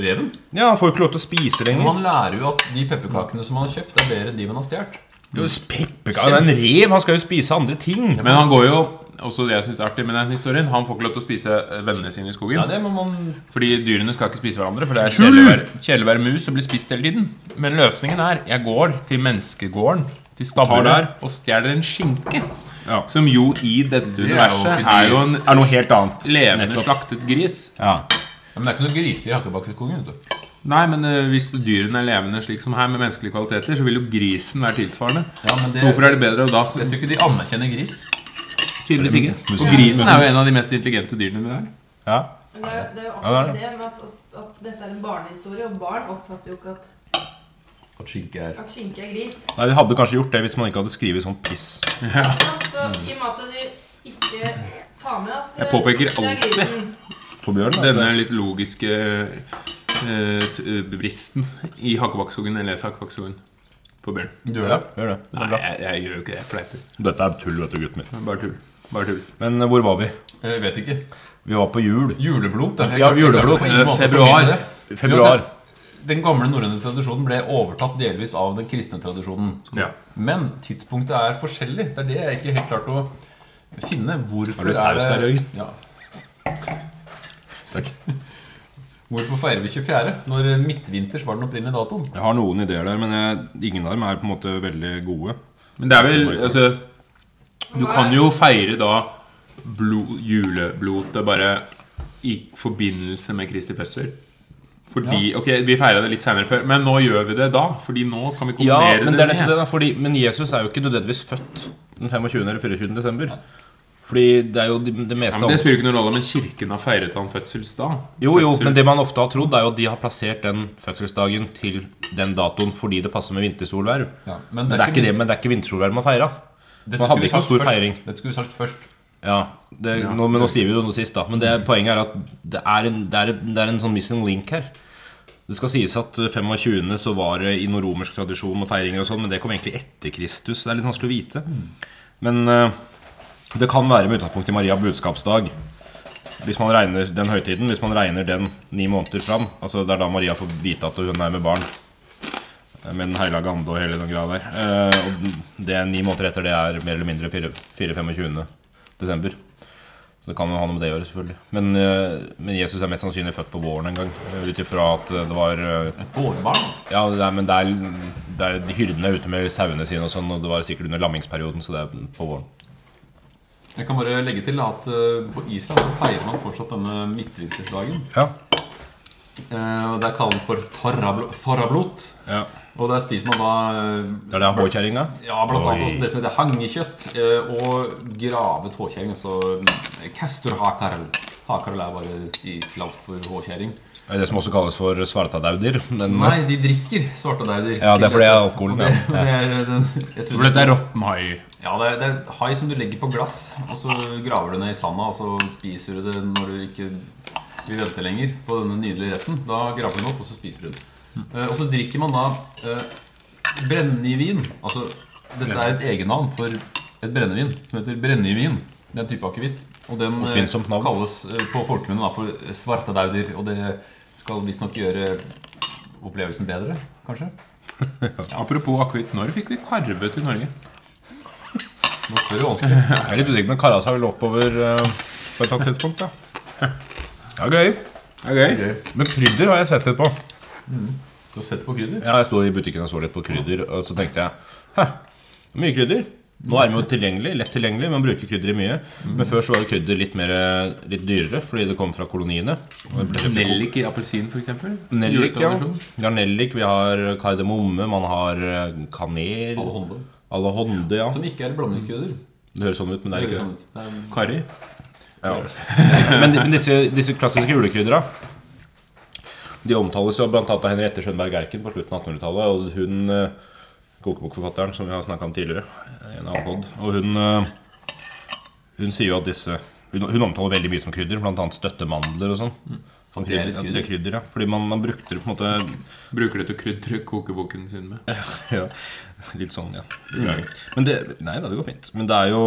S6: Reven?
S3: Ja, Han får jo ikke lov til å spise
S6: Men
S3: lenger.
S6: Han lærer jo at de pepperkakene som han har kjøpt, det er bedre enn de man har stjålet.
S3: Jo, Pepperkake En rev! Han skal jo spise andre ting.
S2: Men han går jo også det jeg synes er artig med den historien Han får ikke lov til å spise eh, vennene sine i skogen.
S6: Ja, det må man
S2: Fordi dyrene skal ikke spise hverandre, for det er kjedelig å være- kjedelig å være mus og bli spist hele tiden. Men løsningen er jeg går til menneskegården, til
S3: der.
S2: stabburet, og stjeler en skinke.
S3: Ja.
S2: Som jo i dette
S6: jo
S2: universet
S6: ikke
S2: er jo en
S3: Er noe helt annet.
S2: levende
S3: Nettopp.
S2: slaktet gris.
S3: Ja.
S6: Ja, Men det er ikke noe gryter i Hakkebakkeskogen. vet du.
S2: Nei, men eh, hvis dyrene er levende slik som her, med menneskelige kvaliteter, så vil jo grisen være tilsvarende.
S6: Ja, men det,
S2: Hvorfor er det bedre da?
S6: Jeg tror ikke de anerkjenner gris.
S2: Tydeligvis ikke. Og grisen er jo en av de mest intelligente dyrene vi har.
S3: ja.
S5: Men det, er- det er jo
S3: Ja, det er
S5: akkurat det med at, at dette er en barnehistorie, og barn oppfatter jo ikke at,
S6: At skinke er
S5: at skinke er gris.
S3: Nei, De hadde kanskje gjort det hvis man ikke hadde skrevet sånn piss.
S5: Ja, Så i og med at de ikke tar med at eh,
S2: Jeg påpeker
S5: det er
S2: alltid.
S5: grisen.
S3: For Bjørn, da.
S2: Denne litt logiske eh, t- eh, bristen i Hakkebakkeskogen. Jeg leser Hakkebakkeskogen for Bjørn.
S6: Du
S3: Ja, gjør det. det
S2: Nei,
S3: er bra.
S2: jeg, jeg gjør jo ikke det. Jeg fleiper.
S3: Dette er tull, vet du, gutten min.
S2: Det er Bare tull. Bare tull.
S3: Men eh, hvor var vi?
S6: Jeg vet ikke.
S3: Vi var på jul.
S6: Juleblot. det.
S3: Ja, juleblot.
S6: På ingen måte
S2: Februar.
S6: formidle det.
S3: Februar.
S6: Uansett, Den gamle norrøne tradisjonen ble overtatt delvis av den kristne tradisjonen.
S2: Ja.
S6: Men tidspunktet er forskjellig. Det er det jeg ikke helt klarte å finne. Hvorfor,
S3: Har du saus
S6: er
S3: der,
S6: det,
S3: Jørgen?
S6: ja.
S3: Takk.
S6: Hvorfor feirer vi 24.? Når midtvinters var den opprinnelige datoen.
S3: Jeg har noen ideer der, men jeg, ingen av dem er på en måte veldig gode.
S2: Men det er vel Altså, du kan jo feire da blod, juleblotet bare i forbindelse med Kristi fødsel. Fordi, ok, Vi feira det litt seinere før, men nå gjør vi det da. Fordi nå kan vi
S3: Ja,
S2: kombinere
S3: men det er
S2: med-
S3: nettopp det da fordi, Men Jesus er jo ikke nødvendigvis født den 25. eller 24. desember. Fordi det er jo det, det
S2: Ja,
S3: meste
S2: men Det
S3: av
S2: spiller jo ikke noen rolle, men kirken har feiret han fødselsdag.
S3: jo, jo,
S2: Fødsel.
S3: men det man ofte har trodd, er jo at de har plassert den fødselsdagen til den datoen fordi det passer med vintersolverv.
S6: Ja,
S3: Men det er ikke det, men det er ikke vintersolverv man feira.
S6: dette
S3: Man
S6: skulle
S3: hadde
S6: vi
S3: ikke noe
S6: sagt
S3: stor
S6: først.
S3: feiring.
S6: Dette skulle vi sagt først.
S3: Ja, det, Nå, men nå sier vi jo noe sist, da. Men det, poenget er at det er, en, det, er en, det er en sånn missing link her. Det skal sies at 25. så var det i noen romersk tradisjon og feiringer og sånn, men det kom egentlig etter Kristus. Det er litt vanskelig å vite. Men eh, det kan være med utgangspunkt i Maria budskapsdag. Hvis man regner den høytiden, hvis man regner den ni måneder fram. Altså Det er da Maria får vite at hun er med barn. Eh, Med den hellige ande og hele den greia der. Eh, og det er ni måneder etter det er mer eller mindre 4.25. desember. Så det kan jo ha noe med det å gjøre, selvfølgelig. Men, eh, men Jesus er mest sannsynlig født på våren en gang. eh, Ut ifra at eh, det var eh,
S6: Et vårbarn. altså.
S3: ja, det er, men det er, det er de hyrdene er ute med sauene sine og sånn, og det var sikkert under lammingsperioden, så det er på våren.
S6: Jeg kan bare legge til at eh, på Island så feirer man fortsatt denne midtvintersdagen.
S3: Ja.
S6: Eh, og Det er kalt for tarablo- farablot.
S3: ja.
S6: Og der spiser man da eh,
S3: Det er det håkjerringa?
S6: ja, blant annet
S3: Oi.
S6: også det som heter hangekjøtt eh, og gravet håkjerring. Altså kasturhakarl. Hakarl er bare islandsk for håkjerring.
S3: Det er det som også kalles for svartadauder. Men
S6: Nei, de drikker svartedauder.
S3: Mm. Ja, det er fordi jeg har alkoholen,
S6: Og det-
S3: ja.
S6: og det er den- jeg tror
S2: For dette er råtten hai.
S6: Ja, det er, det er hai som du legger på glass, og så graver du ned i sanda, og så spiser du det når du ikke vil vente lenger på denne nydelige retten. Da graver du den opp, og så spiser du den. Eh, og så drikker man da eh, brennevin. Altså, dette er et egennavn for et brennevin som heter brennevin. Det er en type akevitt. Og den eh,
S3: Oppfinnsomt navn.
S6: kalles eh, på folkemunne da for svartedauder, og det skal visstnok gjøre opplevelsen bedre, kanskje.
S2: Apropos akevitt, når fikk vi karve til Norge?
S6: Nå spør du vanskelig.
S3: eh, jeg er litt usikker, men kara seg vel oppover eh, på et eller annet tidspunkt, ja. Det er gøy.
S2: Okay.
S3: Men krydder har jeg sett litt på.
S6: Du har sett på krydder?
S3: Ja, jeg sto i butikken og så litt på krydder, og så tenkte jeg Hæ, mye krydder. Nå er de jo tilgjengelig, lett tilgjengelig, man bruker krydderet mye. Men før så var jo krydder litt, mer, litt dyrere, fordi det kom fra koloniene. Og det ble-
S2: Nellik i appelsin, f.eks.
S3: Nellik, ja. Vi har nellik, vi har kardemomme, man har eh, kanel
S6: Alle håndbånd.
S3: Alahonde, ja.
S6: Som ikke er blandingskrydder.
S3: Det høres sånn ut, men det
S6: Det
S3: er ikke
S6: høres sånn ut. Det er en-
S2: Karri.
S3: Men, men disse, disse klassiske julekrydra De omtales jo blant annet av Henriette Schønberg Erken på slutten av 1800-tallet. Og hun eh, kokebokforfatteren som vi har snakka om tidligere i en annen podd, Og hun, eh, hun sier jo at disse hun, hun omtaler veldig mye som krydder, blant annet støttemandler og sånn. Som
S6: det er litt
S3: krydder, at det er krydder, ja. Fordi man, man brukte det på en måte
S2: Bruker det til å krydre kokeboken sin med.
S3: ja. Litt sånn, ja. Men det, nei da, det går fint. Men det er jo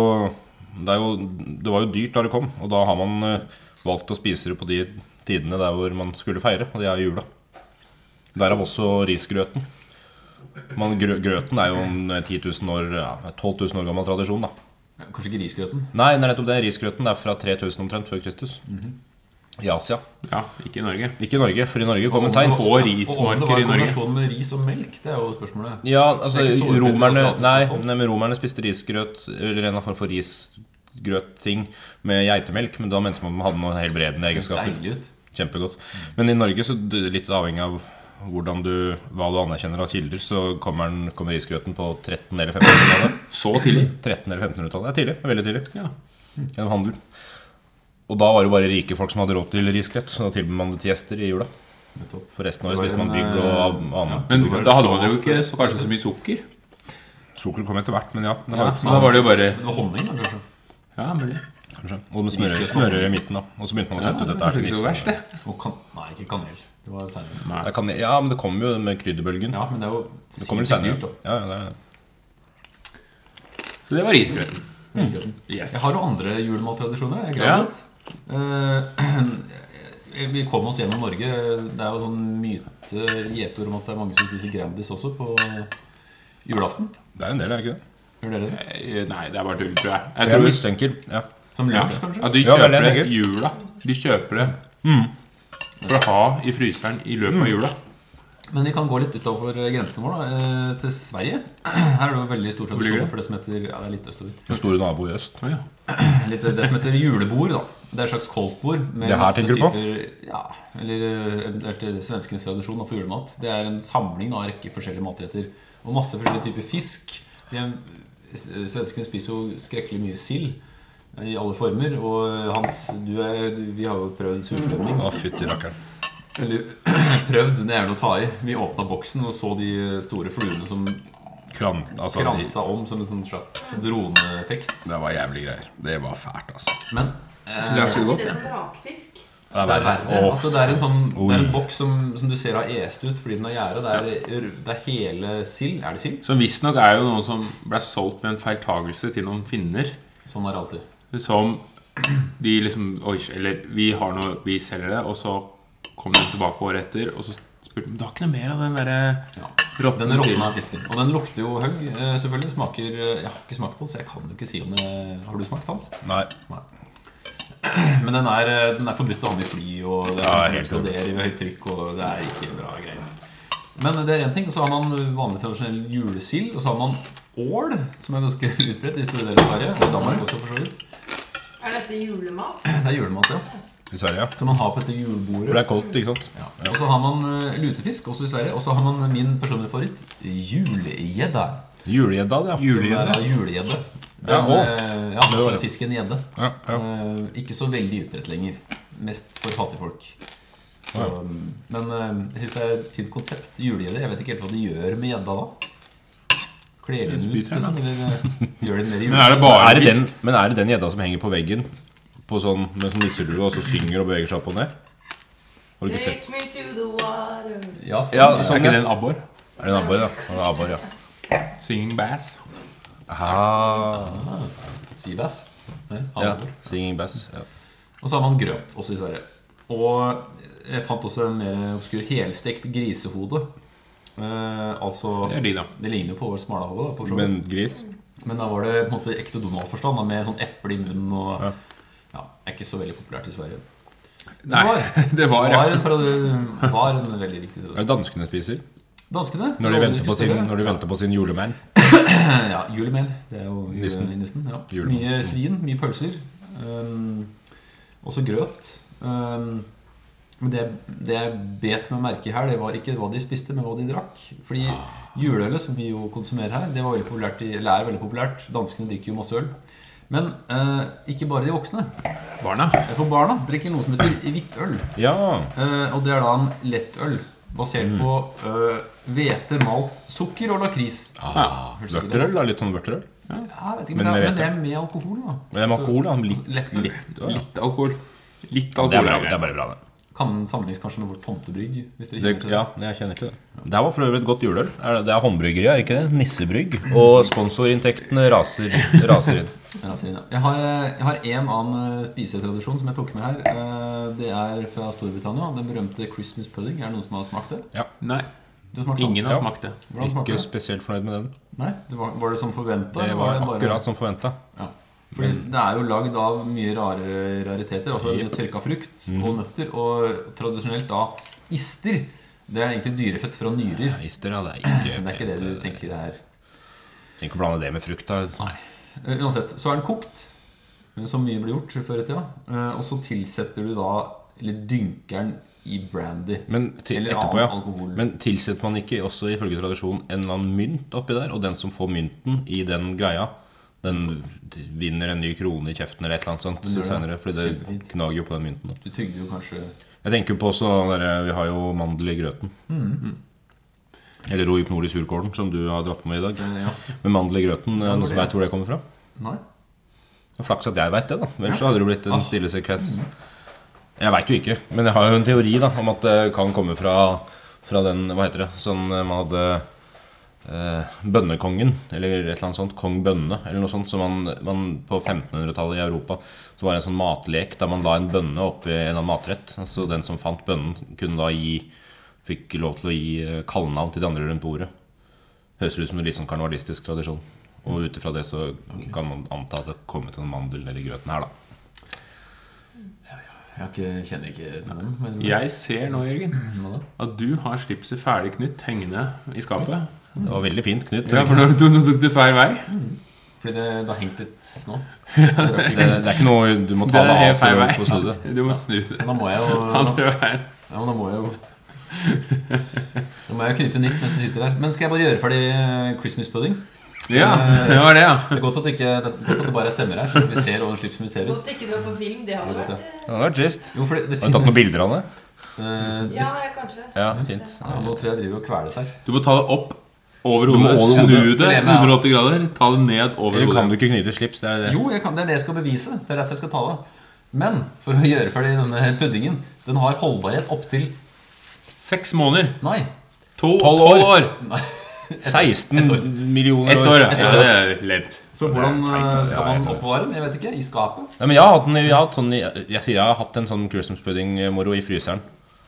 S3: det, er jo det var jo dyrt da det kom, og da har man eh, valgt å spise det på de tidene der hvor man skulle feire, og det er i jula. Derav også risgrøten. Man, grø, grøten er jo en 10 000 år, ja, 12 000 år gammel tradisjon, da.
S6: Kanskje ikke risgrøten.
S3: Nei, det er nettopp det. Risgrøten er fra 3000 omtrent før Kristus. I Asia.
S2: Ja, ikke i Norge.
S3: Ikke i Norge, for i Norge kom den
S2: Nei,
S3: seint.
S2: få
S6: Og om det var
S2: rismarker i
S6: en
S2: Norge.
S6: kombinasjon med ris og melk, det er jo spørsmålet.
S3: Ja, altså
S6: Det er ikke så utbredt i
S3: romerne,
S6: asiatisk
S3: nei,
S6: kosthold.
S3: nei, men romerne spiste risgrøt Eller en eller annen form for risgrøtting Med geitemelk Men da mente man at man hadde noen helbredende
S6: Det ser
S3: egenskaper
S6: deilig ut.
S3: Kjempegodt Men i Norge så d- litt avhengig av hvordan du, hva du anerkjenner av kilder Så kommer, den, kommer risgrøten på 13 eller 1500-tallet
S2: Så tidlig.
S3: 13 eller 1500-tallet, det er tidlig, det er veldig tidlig
S2: Ja.
S3: Gjennom handel Og da var det bare rike folk som hadde råd til risgrøt Så da tilbød man det til gjester i jula
S6: Nettopp.
S3: For resten av året
S6: Det var
S3: spiste man
S6: en, eh,
S3: bygg og av- annet
S2: Men da hadde man jo ikke så, kanskje så mye sukker.
S3: Sukker kom etter hvert, men ja, det
S2: Ja,
S3: var
S2: men da var det jo bare
S6: Det var honning, da, kanskje.
S2: Ja, mulig.
S3: Kanskje. Og med smørøye smørøye i midten, da. Og så begynte man å
S2: Ja,
S3: sette ut
S2: det
S3: dette
S2: er
S3: her
S2: ikke så
S3: til
S2: verst, det.
S6: Og kan nei, ikke kanel. Det var seinere.
S2: Nei.
S3: kan, Ja, men det kom jo med krydderbølgen.
S6: Ja, men det er jo
S3: det kommer litt senere.
S6: sinnssykt dyrt, da.
S3: Ja, ja, det er det.
S2: Så det var risgrøten.
S6: Mm. Risgrøten.
S2: Yes.
S6: Jeg har jo andre julemattradisjoner. Jeg er
S2: Ja.
S6: gravid. Eh, vi kom oss gjennom Norge. Det er jo sånn myte gjetord om at det er mange som spiser Grandis også på julaften.
S3: Det er en del, er det ikke det?
S6: Gjør dere det?
S2: Eh, Nei, det er bare tull, tror jeg. Jeg
S3: Jeg
S2: tror
S3: mistenker ja.
S6: Som
S2: ja.
S6: lunsj, kanskje?
S2: Ja, de
S3: Ja, det er det
S2: kjøper det
S3: jeg
S2: i jula. De kjøper det for å ha i fryseren i løpet av jula.
S6: Men vi kan gå litt utover grensene våre, da, eh, til Sverige. Her er det jo veldig stor
S2: ligger
S6: tradisjon
S2: det?
S6: for det som heter ja, det er litt østover.
S3: Den store nabo i øst.
S2: Å, ja.
S6: Litt det som heter julebord. da Det er et slags koldtbord. med
S3: Det her
S6: masse
S3: tenker du på?
S6: typer- Ja, eller eh, eventuelt eh, svenskenes tradisjon da, for julemat. Det er en samling da, av en rekke forskjellige matretter. Og masse forskjellige typer fisk. De er- s- Svenskene spiser jo skrekkelig mye sild. i alle former. Og eh, Hans, du er, du, vi har jo prøvd surstrømming.
S3: Å, fytti rakkeren.
S6: Eller prøvd, det er vel å ta i. Vi åpna boksen og så de eh, store fluene som
S3: Kran, altså, de,
S6: kransa om som en sånn slags droneeffekt.
S3: det var jævlig greier. Det var fælt, altså.
S6: Men
S2: Så det er så
S5: Er ikke
S2: godt.
S5: det som rakfisk?
S3: Det er
S6: det er
S3: verre.
S6: verre. Altså, det er en sånn Det er
S3: Oi.
S6: en boks som, som du ser har est ut fordi den har gjerde. Det, er- det er hele sild. Er det sild?
S2: Som visstnok er jo noe som ble solgt ved en feiltagelse til noen finner.
S6: Sånn er det alltid.
S2: Som de liksom Oi, eller vi har noe, vi selger det. Og så kom de tilbake året etter, og så spurte de "Men det har ikke noe mer av den derre
S6: Ja. Den
S2: råtne
S6: råtna
S2: siden.
S6: fisken. Og den lukter jo høgg, eh, selvfølgelig. Smaker eh, Jeg har ikke smakt på den, så jeg kan jo ikke si om det Har du smakt, Hans?
S3: Nei.
S6: Men den er, eh, den er forbudt å ha med i fly, og det
S3: Ja, helt
S6: er
S3: klart.
S6: eksploderer i høyt trykk, og det er ikke bra greier. Men det er én ting. Og så har man vanlig tradisjonell julesild. Og så har man ål, som er ganske utbredt i store deler av Sverige. Og i Danmark også, for så vidt.
S5: Er dette julemat?
S6: Det er julemat, ja.
S3: I Sverige, ja.
S6: Som man har på
S3: For
S6: dette
S3: det
S6: julebordet.
S3: er koldt, ikke sant?
S6: Ja. Og så har man eh, lutefisk, også i Sverige. Og så har man min personlige favoritt, julegjedda.
S3: Julegjedda, det, ja.
S2: Julegjedde.
S6: Som er Julegjedde.
S3: Ja,
S6: Den,
S3: og-
S6: eh, ja,
S3: det var
S6: altså
S3: det.
S6: fisken gjedde.
S3: Ja, ja.
S6: Eh, Ikke så veldig utbredt lenger. Mest for fattigfolk. Så,
S3: Ja.
S6: men eh, jeg syns det er et fint konsept. Julegjedde. Jeg vet ikke helt hva de gjør med gjedda da. Kler de den ut,
S2: Spiser den,
S6: liksom? Eller eh, gjør de den mer i
S2: Men er det bare
S3: Er det
S2: fisk?
S3: den, men er det den gjedda som henger på veggen på sånn, med sånn nisselue og så synger og beveger seg opp og ned? Har du ikke sett?
S5: Take me to the water.
S6: Ja, sånn,
S3: Ja,
S6: ja.
S2: Er ikke det en abbor?
S3: Er det en abbor, ja? Ja, det er abbor, ja.
S2: Singing bass.
S3: Ah,
S6: Seabass. Nei,
S3: ja.
S6: alvor.
S3: Singing bass. Ja.
S6: Og så har man grøt også i Sverige. Og jeg fant også en mer obskur helstekt grisehode. Eh, altså
S2: Det er de, da.
S6: Det ligner jo på vår smalahove. da, for så vidt.
S3: Men gris?
S6: Men da var det på en måte i ekte Donald-forstand, da, med sånn eple i munnen og
S3: Ja.
S6: ja. er ikke så veldig populært i Sverige. Det
S2: Nei,
S6: var,
S2: det var, ja.
S6: var, en, parodi- var en veldig viktig
S3: Det
S6: tradisjon.
S3: er danskene spiser
S6: Danskene
S3: når de
S6: lovde
S3: venter på
S6: ikke
S3: sin,
S6: større.
S3: når de venter på sin julemann.
S6: Ja, julemel. Det er jo
S3: Nissen.
S6: nissen. nissen ja.
S3: Julemann.
S6: Mye svin, mye pølser. Um, også grøt. Um, men det, det jeg bet meg merke i her, det var ikke hva de spiste, men hva de drakk. Fordi
S3: Ah.
S6: juleølet, som vi jo konsumerer her, det var veldig populært i, eller er veldig populært. Danskene drikker jo masse øl. Men eh, ikke bare de voksne.
S2: Barna.
S6: For barna drikker noe som heter hvitt øl.
S3: Ja.
S6: Eh, og det er da en lettøl basert
S3: Mm.
S6: på eh, hvete, malt, sukker og lakris.
S3: Ah,
S6: Høres ikke det
S3: vørterøl, da. Litt sånn vørterøl.
S6: Ja, jeg vet ikke,
S3: Men
S6: men, det, er-
S3: med
S6: men det er med alkohol, da.
S3: Men det er med alkohol, da. Litt,
S6: Lett
S3: litt,
S6: øl.
S3: å, ja.
S2: Litt alkohol. Litt
S3: Det er
S2: alkohol
S3: bra,
S2: er
S3: det er
S2: greit.
S3: bare bra, det.
S6: Kan sammenlignes kanskje med vårt tomtebrygg. Hvis dere
S3: det.
S6: kjenner til
S3: Ja, jeg kjenner til det. Det her var for øvrig et godt juleøl. Er det- Det er håndbryggeri, er det ikke det? Nissebrygg. Og sponsorinntektene raser, raser inn.
S6: det. Ja, sier det. Jeg har, eh, jeg har en annen eh, spisetradisjon som jeg tok med her. Eh, Det er fra Storbritannia. Den berømte Christmas pudding. Er det noen som har smakt det?
S2: Nei,
S6: Du har smakt det,
S2: ingen har
S6: Hans.
S2: smakt det.
S6: Hvordan smaker
S3: Ikke
S6: det?
S3: spesielt fornøyd med den.
S6: Nei, det var, var det som forventa?
S3: Det var akkurat som forventa.
S6: Ja. Fordi det er jo lagd av mye rare rariteter. Altså tørka frukt og nøtter. Og tradisjonelt da ister. Det er egentlig dyrefett fra nyrer.
S3: Ister, ja. Det er ikke
S6: Men det er ikke det du tenker er
S3: Tenk å blande det med frukt, da. Liksom.
S6: Eh, Uansett, så er den kokt, eh, som mye ble gjort før i tida. Eh, Og så tilsetter du da Eller dynker den i brandy.
S3: Men til,
S6: Eller
S3: etterpå,
S6: annen
S3: ja.
S6: alkohol.
S3: Men tilsetter man ikke også ifølge tradisjonen en eller annen mynt oppi der? Og den som får mynten i den greia, den vinner en ny krone i kjeften eller et eller annet sånt
S6: gjør det.
S3: senere. Fordi det
S6: Kjempefint.
S3: gnager jo på den mynten. Da.
S6: Du tygde jo kanskje
S3: Jeg tenker på også den derre- Vi har jo mandel i grøten.
S6: Mm.
S3: Eller rohypnol i surkålen, som du har dratt med i dag.
S6: eh, Ja.
S3: Men mandel i grøten, er det noen som
S6: ja.
S3: veit hvor det kommer fra?
S6: Nei?
S3: Og Flaks at jeg veit det, da. Ellers så hadde det blitt en stille sekvens. Jeg veit jo ikke, men jeg har jo en teori da om at det kan komme fra, fra den Hva heter det? Sånn eh, man hadde eh, Bønnekongen, eller et eller annet sånt. Kong Bønne, eller noe sånt. Så man, man på 1500-tallet i Europa Så var det en sånn matlek der man la en bønne oppi en eller annen matrett. Så den som fant bønnen, kunne da gi Fikk lov til å gi eh, kallenavn til de andre rundt bordet. Høres ut som en litt sånn karnevalistisk tradisjon. Og ut ifra det så kan man anta at det kommer til en mandel eller grøten her, da.
S6: Jeg har ikke, kjenner ikke til den. Men
S2: Jeg ser nå, Jørgen,
S6: Hva da?
S2: at du har slipset ferdig knytt hengende i skapet.
S3: Det var veldig fint, Knut.
S2: Ja, for nå tok, nå tok du feil vei.
S6: Fordi det, det har hengt litt nå.
S3: Det, det er ikke noe du må
S2: Det
S3: ta
S2: er
S3: deg
S2: helt
S3: av
S2: feil
S3: for
S2: vei.
S3: å få snudd det.
S2: Du må snu det.
S6: Da må jeg jo
S2: Andre veien.
S6: Ja, men da må jeg jo Da må jeg jo knytte nytt mens jeg sitter der. Men skal jeg bare gjøre ferdig eh, Christmas pudding?
S2: Ja, det var det, ja.
S6: Det er godt at, ikke, det, godt at det bare er stemmer her, så vi ser hvordan slikt som vi ser ut.
S5: Godt ikke det var på film. Det hadde
S6: Det er godt,
S5: vært eh,
S3: Det hadde vært trist.
S6: Jo, for det, det
S3: Har du tatt noen bilder av det?
S6: Eh, det,
S5: Ja, jeg- kanskje.
S3: Ja, fint.
S6: ja, nå tror jeg jeg driver og kveles her.
S2: Du må ta det opp over
S3: må
S2: hodet.
S3: over
S2: Snu
S3: hodet.
S2: det 180 grader. Ta det ned over
S3: Eller kan
S2: hodet.
S3: du ikke knyte slips? Det er det.
S6: Jo, jeg kan, det er det jeg skal bevise. Det er derfor jeg skal ta det. Men for å gjøre ferdig denne puddingen Den har holdbarhet opptil
S2: Seks måneder.
S6: Nei.
S2: To,
S3: Tolv
S2: tolv
S3: år.
S2: år.
S3: 16
S6: år.
S3: millioner
S2: Ett år, ja. ja det er lent.
S6: Så hvordan eh,
S3: altså.
S6: skal
S3: Ja, jeg
S6: man
S3: vet det.
S6: oppbevare den? Jeg vet ikke. I skapet?
S3: Nei, men jeg har hatt en, jeg har hatt sånn, jeg, jeg sier jeg har hatt en sånn Christmas pudding-moro i fryseren.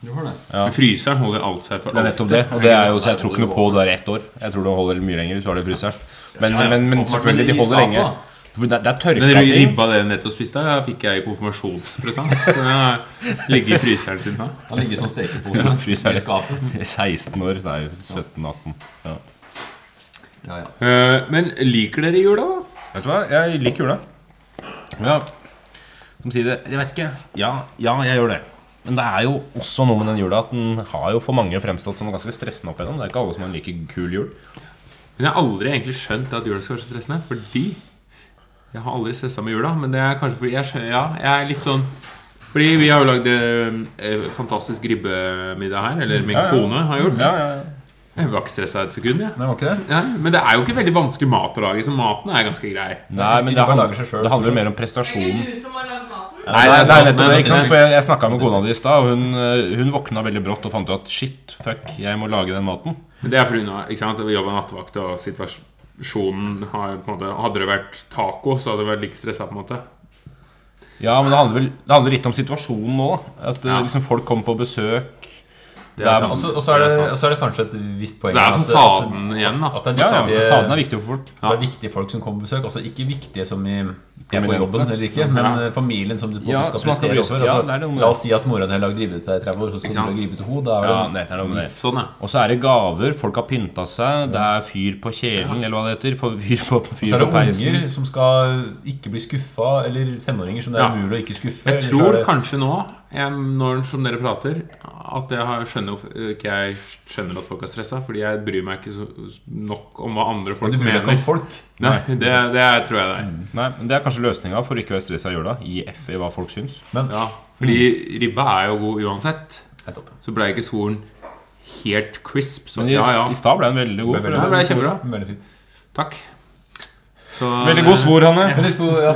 S6: Du har det.
S2: Men Fryseren holder alt seg for
S3: Det er nettopp det. Og det er jo, så jeg tror ikke noe på det der ett år. Jeg tror det holder mye lenger hvis du har det i fryseren. Men, men, men selvfølgelig, de holder lenge. For det, det er
S2: Den
S3: tørka ting.
S2: ribba dere nettopp spiste, her, fikk jeg i konfirmasjonspresang. Så den har ligget i fryseren siden da.
S6: Den ligger som stekepose
S3: Ja, fryser.
S6: i skapet.
S3: 16 år. Det er jo 17-18. Ja.
S6: Ja, ja.
S2: Eh, Men liker dere jula, da?
S3: Vet du hva, jeg liker jula. Ja. Som sier det Jeg vet ikke. Ja, ja, jeg gjør det. Men det er jo også noe med den jula at den har jo for mange fremstått som ganske stressende opp igjennom. Det er ikke alle som har en like kul jul.
S2: Men jeg har aldri egentlig skjønt at jula skal være så stressende. Fordi jeg har aldri stressa med jula. Men det er kanskje fordi jeg skjønner Ja, jeg er litt sånn Fordi vi har jo lagd eh, fantastisk ribbemiddag her. Eller min
S3: Ja, ja.
S2: kone har gjort.
S3: ja, ja.
S2: Jeg var ikke stressa et sekund, jeg.
S6: Det var ikke det?
S2: Ja, men det er jo ikke veldig vanskelig mat å lage, så maten er ganske grei.
S3: Nei, men det
S6: Jula
S3: handler,
S6: lager seg selv,
S3: det handler
S6: stort sett.
S3: mer om
S5: Det er
S3: prestasjonen.
S5: ikke du som har lagd maten?
S3: Nei, nei, nei,
S2: sant,
S3: nettopp
S2: men-
S3: det, ikke sant? For jeg, jeg snakka med kona di i stad, og hun, eh, hun våkna veldig brått og fant ut at shit, fuck, jeg må lage den maten.
S2: Men det er fordi hun har- ikke sant, vi jobber nattevakt, og situasjonen har på en måte Hadde det vært taco, så hadde jeg vært like stressa, på en måte.
S3: Ja, men det handler, vel, det handler litt om situasjonen nå, da. At eh,
S2: Ja.
S3: liksom, folk kommer på besøk.
S2: Det er,
S3: Det er-
S6: Og så-
S2: sant.
S6: og så er, det- og
S2: sant.
S6: så er det kanskje et visst poeng
S2: Det er
S6: at-
S2: fasaden igjen, da.
S6: at, at det er
S3: Ja, ja,
S6: viktige-
S3: fasaden er viktig for folk.
S6: Det er viktige folk som kommer på besøk. Altså ikke viktige som i jeg får
S3: Prominente.
S6: jobben eller ikke, men
S2: Ja.
S6: eh, familien som du på en
S3: Ja,
S6: måte skal
S3: som man skal bry
S6: prestere
S3: seg
S6: overfor.
S3: om.
S6: Altså,
S3: Ja, det er det om det.
S6: la oss si at mora di har lagd ribbe til deg i 30 år, så
S2: Ikke
S6: skal du
S2: sant?
S6: lage ribbe til henne. Da er
S3: Ja,
S6: det
S3: det er noe med det.
S2: Sånn, ja.
S3: Og så er det gaver. Folk har pynta seg. Det er fyr på kjelen, eller hva det heter. for- Fyr på,
S6: så
S3: fyr
S6: er det
S3: på peisen.
S6: unger som skal ikke bli skuffa, eller tenåringer som det
S2: Ja.
S6: er umulig å ikke skuffe.
S2: Jeg
S6: eller så er
S2: tror
S6: det-
S2: kanskje nå, jeg, når som dere prater, at jeg har, skjønner hvorfor- ikke jeg skjønner at folk er stressa. Fordi jeg bryr meg ikke så, nok om hva andre folk
S6: Du bryr deg ikke
S2: mener.
S6: om Mm. folk.
S2: Nei, det, det tror jeg det er.
S3: Nei, men Det er kanskje løsninga for å ikke være stressa i jula. Gi F i hva folk syns.
S2: Ja, fordi ribba er jo god uansett.
S6: Nettopp.
S2: Så blei ikke skolen helt crisp. Så
S3: Men i,
S2: ja, ja.
S3: i stad ble den veldig god.
S6: Veldig,
S2: Ja, det ble kjempebra.
S6: Veldig fint.
S2: Takk. Så,
S3: Veldig god svor, Hanne.
S6: Men, liksom, ja.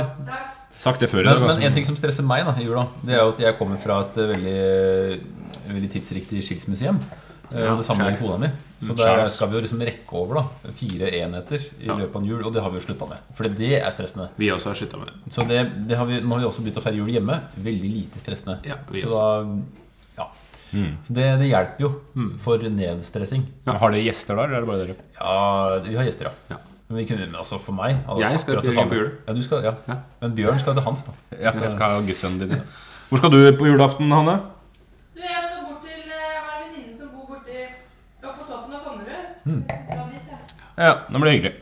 S3: Sagt det før i dag.
S6: men, men
S3: altså.
S6: en ting som stresser meg da, i jula, det er jo at jeg kommer fra et eh, veldig, eh, veldig tidsriktig skilsmissehjem. eh,
S2: Ja,
S6: og det samme med kona mi. Så
S3: Mm,
S6: der
S3: skjærs.
S6: skal vi jo liksom rekke over da, fire enheter i
S2: Ja.
S6: løpet av en jul, og det har vi jo slutta med. For det er stressende.
S2: eh, Vi også har slutta med det.
S6: Så det, det har vi, nå har vi også begynt å feire jul hjemme. Veldig lite stressende.
S2: Ja, vi
S6: så da, ja. Så det, det hjelper jo
S2: Mm.
S6: for nedstressing.
S3: Har dere gjester der, eller er det bare dere?
S6: Ja, vi har gjester, ja.
S2: Ja.
S6: Men vi kunne, men altså for meg hadde
S2: Jeg
S6: det
S2: skal
S6: akkurat
S2: til
S6: det
S2: Jørgen
S6: samme.
S2: på jul.
S6: Ja, du skal, ja.
S2: Ja.
S6: Men Bjørn skal til hans, da.
S3: Ja, jeg skal ha gudssønnen din. Hvor skal du på julaften, Hanne?
S5: Du, jeg skal bort til eh, Jeg har en venninne som bor borti ja, på toppen av Konnerud. Jeg drar dit, jeg.
S3: Ja, nå blir det hyggelig.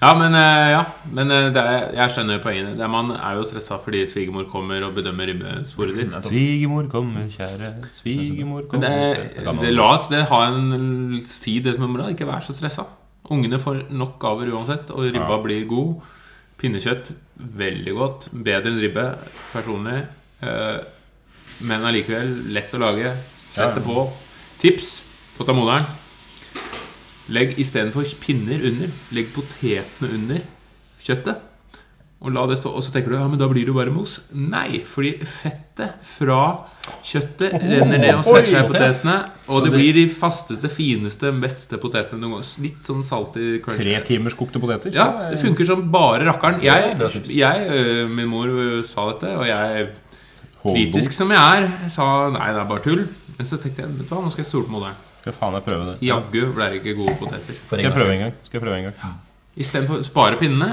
S2: Ja, men, eh, ja. men eh, det er, jeg skjønner poenget. Det er, man er jo stressa fordi svigermor kommer og bedømmer ribbesvoret ditt.
S3: altså, Svigermor kommer, kjære. Svigermor
S2: Men det,
S3: kommer
S2: er- det, la oss det ha en si det som er moro. Ikke vær så stressa. Ungene får nok gaver uansett, og ribba blir god. Pinnekjøtt veldig godt. Bedre enn ribbe personlig. Eh, Men allikevel lett å lage. Sette på. Tips fått av moderen. Legg istedenfor pinner under. Legg potetene under kjøttet. Og, la det stå, og så tenker du ja, men da blir det jo bare mos. Nei, fordi fettet fra kjøttet renner ned og setter seg i potetene. Og det blir de fasteste, fineste, beste potetene noen gang. Litt sånn salty crunch.
S3: Tre timers kokte poteter?
S2: Ja, det funker som bare rakkeren. Jeg, jeg øh, min mor øh, sa dette, og jeg,
S3: Holdbok.
S2: kritisk som jeg er, sa nei, det er bare tull. Men så tenkte jeg vet du hva, nå skal jeg stole på moderen.
S3: Skal faen meg prøve det.
S2: Jaggu ble det ikke gode poteter.
S3: Skal
S6: For en
S3: jeg
S6: gangs
S3: prøve
S6: skyld.
S3: en gang? Skal jeg prøve en gang?
S2: Istedenfor å spare pinnene,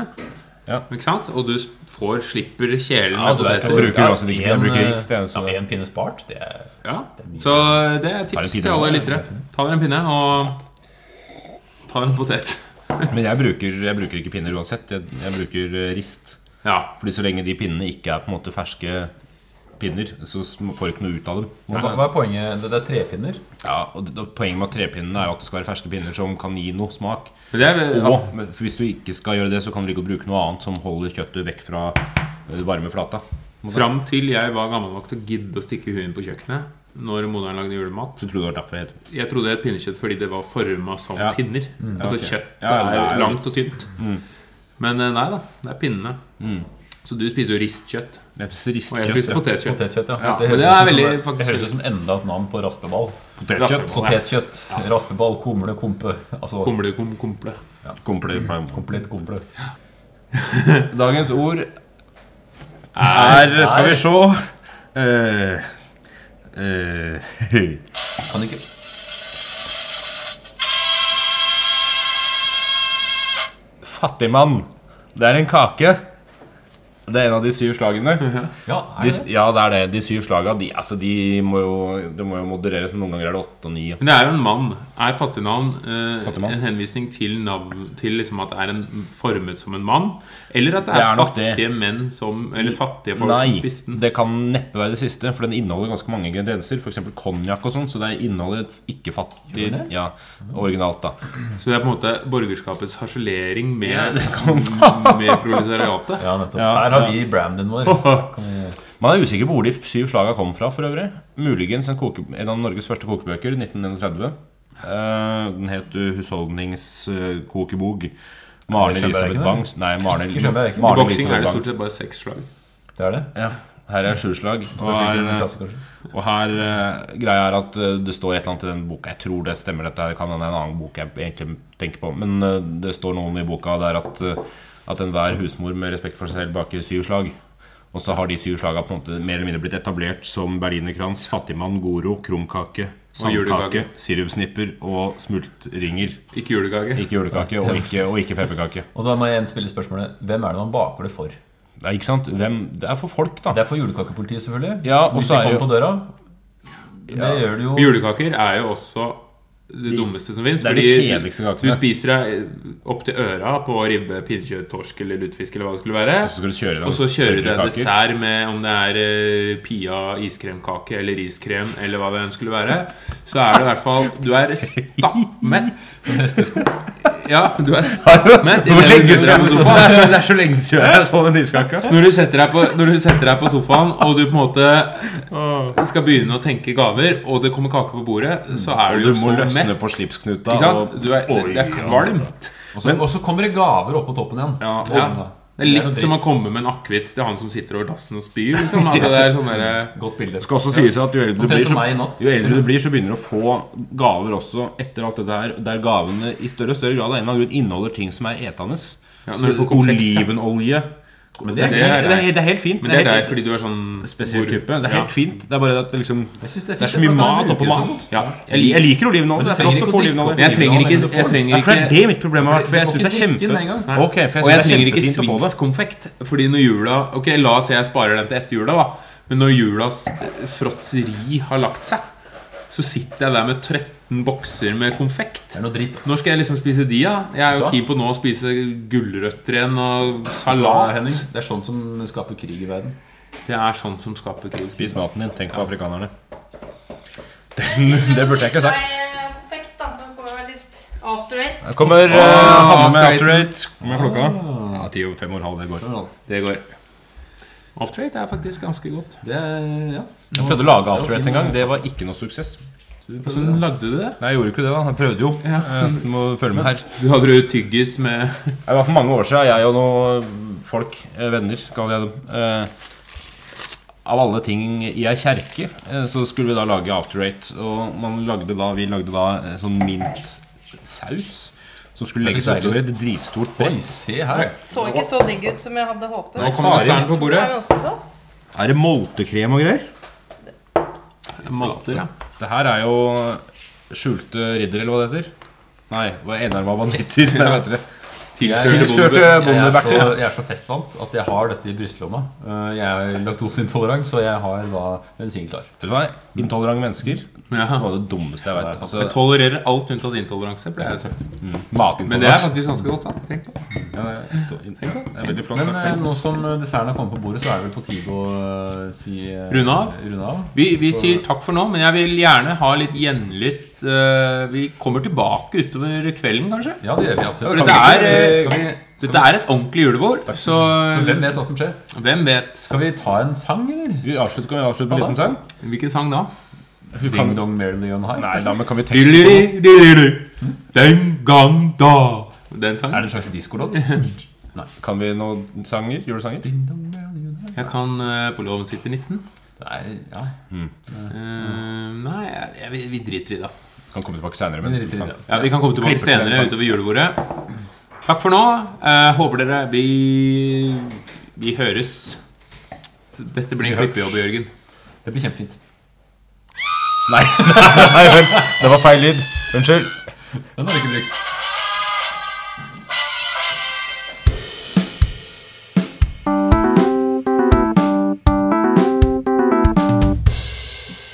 S3: Ja.
S2: ikke sant? og du s- får, slipper kjelen
S6: Ja,
S2: med
S6: du vet,
S3: Jeg
S2: poteter.
S3: bruker uansett ikke, men jeg
S6: en,
S3: bruker rist. Det er
S6: Ja,
S3: eneste.
S6: en pinne spart, det er
S2: Ja.
S6: det er mye.
S2: Så eh, det er
S3: Ta en
S2: tips
S3: pinne.
S2: til alle lyttere. Ta dere en pinne, og ta dere en potet.
S3: Men jeg bruker, jeg bruker ikke pinner uansett. Jeg, jeg bruker eh, rist.
S2: Ja.
S3: Fordi så lenge de pinnene ikke er på en måte ferske pinner, så sm- får du ikke noe ut av dem.
S6: Hva, hva er poenget? Det, det er trepinner.
S3: Ja, og det- det- Poenget med trepinnene er jo at det skal være ferske pinner som kan gi noe smak.
S2: Men det er,
S3: Og men hvis du ikke skal gjøre det, så kan du like godt bruke noe annet som holder kjøttet vekk fra eh, varme flata.
S2: Fram til jeg var gammel nok til å gidde å stikke huet inn på kjøkkenet når moderen lagde julemat.
S3: Så tror du det var derfor jeg heter
S2: Jeg trodde det het pinnekjøtt fordi det var forma som
S3: Ja.
S2: pinner.
S6: Mm,
S2: Altså
S3: ok.
S2: kjøttet
S3: Ja, ja, det er
S2: er
S3: jo-
S2: langt og tynt. Men eh, nei da, det er pinnene. Så du spiser jo ristkjøtt. Og jeg spiser
S3: ristkjøtt.
S2: potetkjøtt.
S6: Potetkjøtt, Mm. ja.
S2: Ja,
S6: Det
S2: men det er
S6: høres ut som-
S2: veldig
S6: det
S2: faktisk
S6: høres ut som enda et navn på rasteball.
S2: Potetkjøtt.
S6: Potetkjøtt, raspeball, kumle, kompe. Altså
S2: Kumle, kom, komple.
S6: komplett komple.
S3: Dagens ord er Skal vi se Eh, eh,
S6: Kan ikke
S3: Fattigmann. Det er en kake. Det er en av de syv slagene.
S2: Mhm.
S6: Ja,
S3: De,
S6: er det?
S3: ja, det er det. De syv slaga de, altså, de må jo, det må jo modereres, men noen ganger er det åtte og ni.
S2: Men det er jo en mann. Er fattignavn eh,
S3: Fattigmann.
S2: en henvisning til, navn, til liksom at det er en formet som en mann? Eller at det
S3: Det
S2: er,
S3: er nok det.
S2: fattige menn som Eller fattige folk som
S3: Nei,
S2: spiste den?
S3: det kan neppe være det siste, for den inneholder ganske mange ingredienser. F.eks. konjakk og sånn, så det inneholder et ikke-fattig Ja, originalt, da.
S2: Så det er på en måte borgerskapets harselering med,
S3: det kan-
S2: med proletariatet?
S6: Ja, nettopp.
S3: Ja,
S6: Her har
S3: ja.
S6: vi branden vår.
S3: Man er usikker på hvor de syv slaga kom fra, for øvrig. Muligens en, koke, en av Norges første kokebøker, 1931. Eh, den het jo 'Husholdningskokebog'. Maren
S6: Det skjønner jeg
S3: Elisabeth
S6: ikke, det.
S3: Bangs. Nei, Maren
S6: Ikke skjønner jeg
S2: I
S6: ikke.
S3: Maren
S2: boksing er
S3: Elisabeth
S2: det
S3: Bang.
S2: stort sett bare seks slag.
S6: Det er det.
S3: Ja, her er sju slag. Og eh,
S6: Kanskje ikke
S3: her,
S6: en klasse, kanskje.
S3: Og her eh, greia er at eh, det står et eller annet i den boka Jeg tror det stemmer, dette her kan hende det er en annen bok jeg egentlig tenker på. Men eh, det står noe om i boka der at, eh, at enhver husmor med respekt for seg selv baker syv slag. Og så har de syv slaga på en måte mer eller mindre blitt etablert som berlinerkrans, fattigmann, goro, krumkake, sandkake,
S2: julekake.
S3: sirupsnipper og smultringer.
S2: Ikke julekake.
S3: Ikke julekake og ikke, og ikke pepperkake.
S6: Og da må jeg igjen spille spørsmålet Hvem er det man baker det for? Det
S3: Det er, ikke sant? Hvem, det er for folk, da.
S6: er for julekakepolitiet, selvfølgelig.
S3: Ja, og
S6: Hvis
S3: så
S6: de
S3: er
S6: kommer
S3: jo-
S6: på døra. Det gjør det jo
S2: Julekaker er jo også det dummeste som fins.
S3: det er de kjedeligste
S2: du
S3: kakene.
S2: spiser deg opp til øra på ribbe, pinnekjøtt, torsk eller lutefisk eller hva det skulle være.
S3: Så skal du kjøre i gang
S2: Og så kjører du en
S3: tørrekaker.
S2: dessert med om det er eh, Pia iskremkake eller iskrem eller hva det enn skulle være. Så er det i hvert fall Du er stappmett. Ja, du er stappmett.
S3: Hvor
S2: idet du
S3: lenge
S2: setter deg på
S3: skal jeg- Det
S2: sofaen.
S3: er så- det er så lenge siden jeg så den iskaka.
S2: Så når du setter deg på, når du setter deg på sofaen og du på en måte skal begynne å tenke gaver, og det kommer kake på bordet, så er du
S3: Du
S2: jo
S3: må
S2: så mett.
S3: løsne på slipsknuta.
S2: Ikke sant?
S3: og-
S2: Du er, det er kvalmt.
S6: Og så- Og så kommer det gaver opp på toppen igjen.
S2: Ja,
S6: Å,
S2: ja.
S6: da.
S2: Det er
S6: Det er
S2: litt
S6: jo
S2: som å komme med en akevitt til han som sitter over dassen og spyr. Liksom. Altså, det er sånn derre-
S6: Godt bilde.
S3: Det skal også sies at jo eldre du
S6: Omtrent
S3: blir,
S6: som
S3: så,
S6: meg i natt.
S3: jo eldre du blir, så begynner du å få gaver også etter alt dette her, der gavene i større og større grad av en eller annen grunn inneholder ting som er etende.
S2: Ja, når du
S3: så
S2: får konfekt, ja.
S3: olivenolje
S6: Men
S3: det er,
S2: det
S3: fint,
S2: er
S3: det, er, helt- det er helt fint.
S2: Men det er deg
S3: helt-
S2: fordi du er sånn
S3: spesiell
S2: hvor-
S3: type. Det er
S2: Ja.
S3: helt fint. Det er bare at det liksom
S6: Jeg synes
S3: Det er så mye
S6: fint, for da kan
S3: mat
S6: jeg
S3: oppå
S6: bruke det
S3: mat.
S6: til
S2: Ja.
S3: Jeg, li- jeg liker olivenolje. Det er flott
S6: Men du
S3: å
S6: trenger
S3: få
S6: ikke å drikke
S3: olivenolje.
S2: Men jeg trenger ikke
S6: Men du får-
S2: Jeg trenger
S3: Ja, for det er
S2: ikke
S3: det mitt problem har vært. For jeg syns det er
S6: Du får ikke drikke den med en
S3: kjempe
S6: gang.
S2: Og
S3: Ok, for jeg
S2: jeg
S3: synes det er
S2: trenger ikke
S3: kjempefint å få det.
S2: svingskonfekt. Fordi når jula Ok, la oss si jeg sparer den til etter jula, da. Men når julas eh, fråtseri har lagt seg, så sitter jeg der med 13 bokser med konfekt.
S6: Det er noe dritt. ass.
S2: Når skal jeg liksom spise de, da? Jeg er
S6: Vet du
S2: jo
S6: hva?
S2: keen på nå å spise gulrøtter igjen og
S6: Ja,
S2: salat.
S6: Henning, det er sånt som skaper krig i verden.
S2: Det er sånn som skaper krig.
S3: Spis maten din. Tenk på afrikanerne.
S5: Det
S3: Mm,
S5: eh,
S3: burde jeg ikke sagt.
S5: Perfekt, da, så får jeg litt after eight.
S3: Her kommer uh, Hanne med
S2: after
S3: After Eight. Kommer klokka? Ja, ti og fem og en halv. Det går.
S2: Det går. Off-trade er faktisk ganske godt.
S6: Det er, ja.
S3: Jeg prøvde å lage After Eight en gang. Det var ikke noe suksess.
S2: Hvordan lagde du det?
S3: Nei, jeg gjorde ikke det, da. Jeg prøvde jo.
S2: Ja.
S3: Eh, Du må følge med her.
S2: Du hadde jo tyggis med
S3: Det var for mange år siden jeg og noen folk, eh, venner, kaller jeg dem eh, Av alle ting i ei kjerke, eh, så skulle vi da lage After Eight. Og man lagde da, vi lagde da eh, sånn mintsaus. Som skulle
S6: Det
S3: legges
S6: ser deilig
S3: utover et dritstort
S6: Oi,
S3: brett.
S6: se her.
S5: Så ikke så digg ut som jeg hadde håpet.
S2: Nå kommer desserten på bordet.
S5: Er det noen som får?
S3: Er det moltekrem og greier?
S2: Malter, ja.
S3: Det her er jo skjulte ridder, eller hva det heter. Nei, det var enarma banditter. Nei, vet dere.
S2: Tilskjørte bondebø-
S3: Tilskjørte
S6: Jeg er, så,
S3: bondebærter. ja.
S6: jeg er så festvant at jeg har dette i brystlomma. Eh, Jeg er laktoseintolerant, så jeg har da bensin klar.
S3: Vet du hva? Intolerante mennesker
S2: Ja.
S3: Det var det dummeste jeg vet.
S2: Jeg
S3: Altså,
S2: tolererer alt unntatt intoleranse, ble jeg sagt. Men det er
S3: Matintoleranse.
S2: faktisk ganske godt sagt. Tenk på det.
S3: Ja, det er- det er veldig flott
S6: Men
S3: sagt.
S6: eh,
S3: tenkt.
S6: nå som desserten har kommet på bordet, så er det vel på tide å eh, si eh,
S2: Runde av?
S6: Runde av.
S2: Vi, vi sier takk for nå, men jeg vil gjerne ha litt gjenlytt. eh, Vi kommer tilbake utover kvelden, kanskje.
S6: Ja, det gjør vi absolutt.
S2: For dette
S6: Skal vi-
S2: er, eh,
S6: skal vi,
S2: Dette er et ordentlig julebord, så eh,
S6: så Hvem vet hva som skjer?
S2: hvem vet?
S6: Skal vi ta en sang, eller?
S3: Vi avslutter, kan vi avslutte med en liten
S6: Ja,
S3: sang?
S2: Hvilken sang da?
S6: Ding dong merrily on high?
S3: Nei, da, men kan vi tekste på noe?
S2: Dilleri-dilleri, Den gang da Den
S6: Er
S2: sangen?
S6: det en slags diskolåt?
S3: Kan vi noen sanger? Julesanger?
S6: Ding dong merrily on high?
S2: Jeg kan eh, På låven sitter nissen.
S6: Nei, ja.
S2: Eh, nei, jeg, jeg, vi- vi driter i det.
S3: Kan komme tilbake senere
S6: Men
S3: men
S6: litt videre.
S2: Ja, Vi kan komme tilbake
S3: Klipper til den
S2: senere
S3: sangen.
S2: utover julebordet. Takk for nå. Eh, håper dere Vi, vi høres. Dette blir en
S6: Vi høres.
S2: klippejobb, Jørgen.
S6: Det blir kjempefint.
S3: Nei, nei, vent. Det var feil lyd. Unnskyld.
S6: Den har vi ikke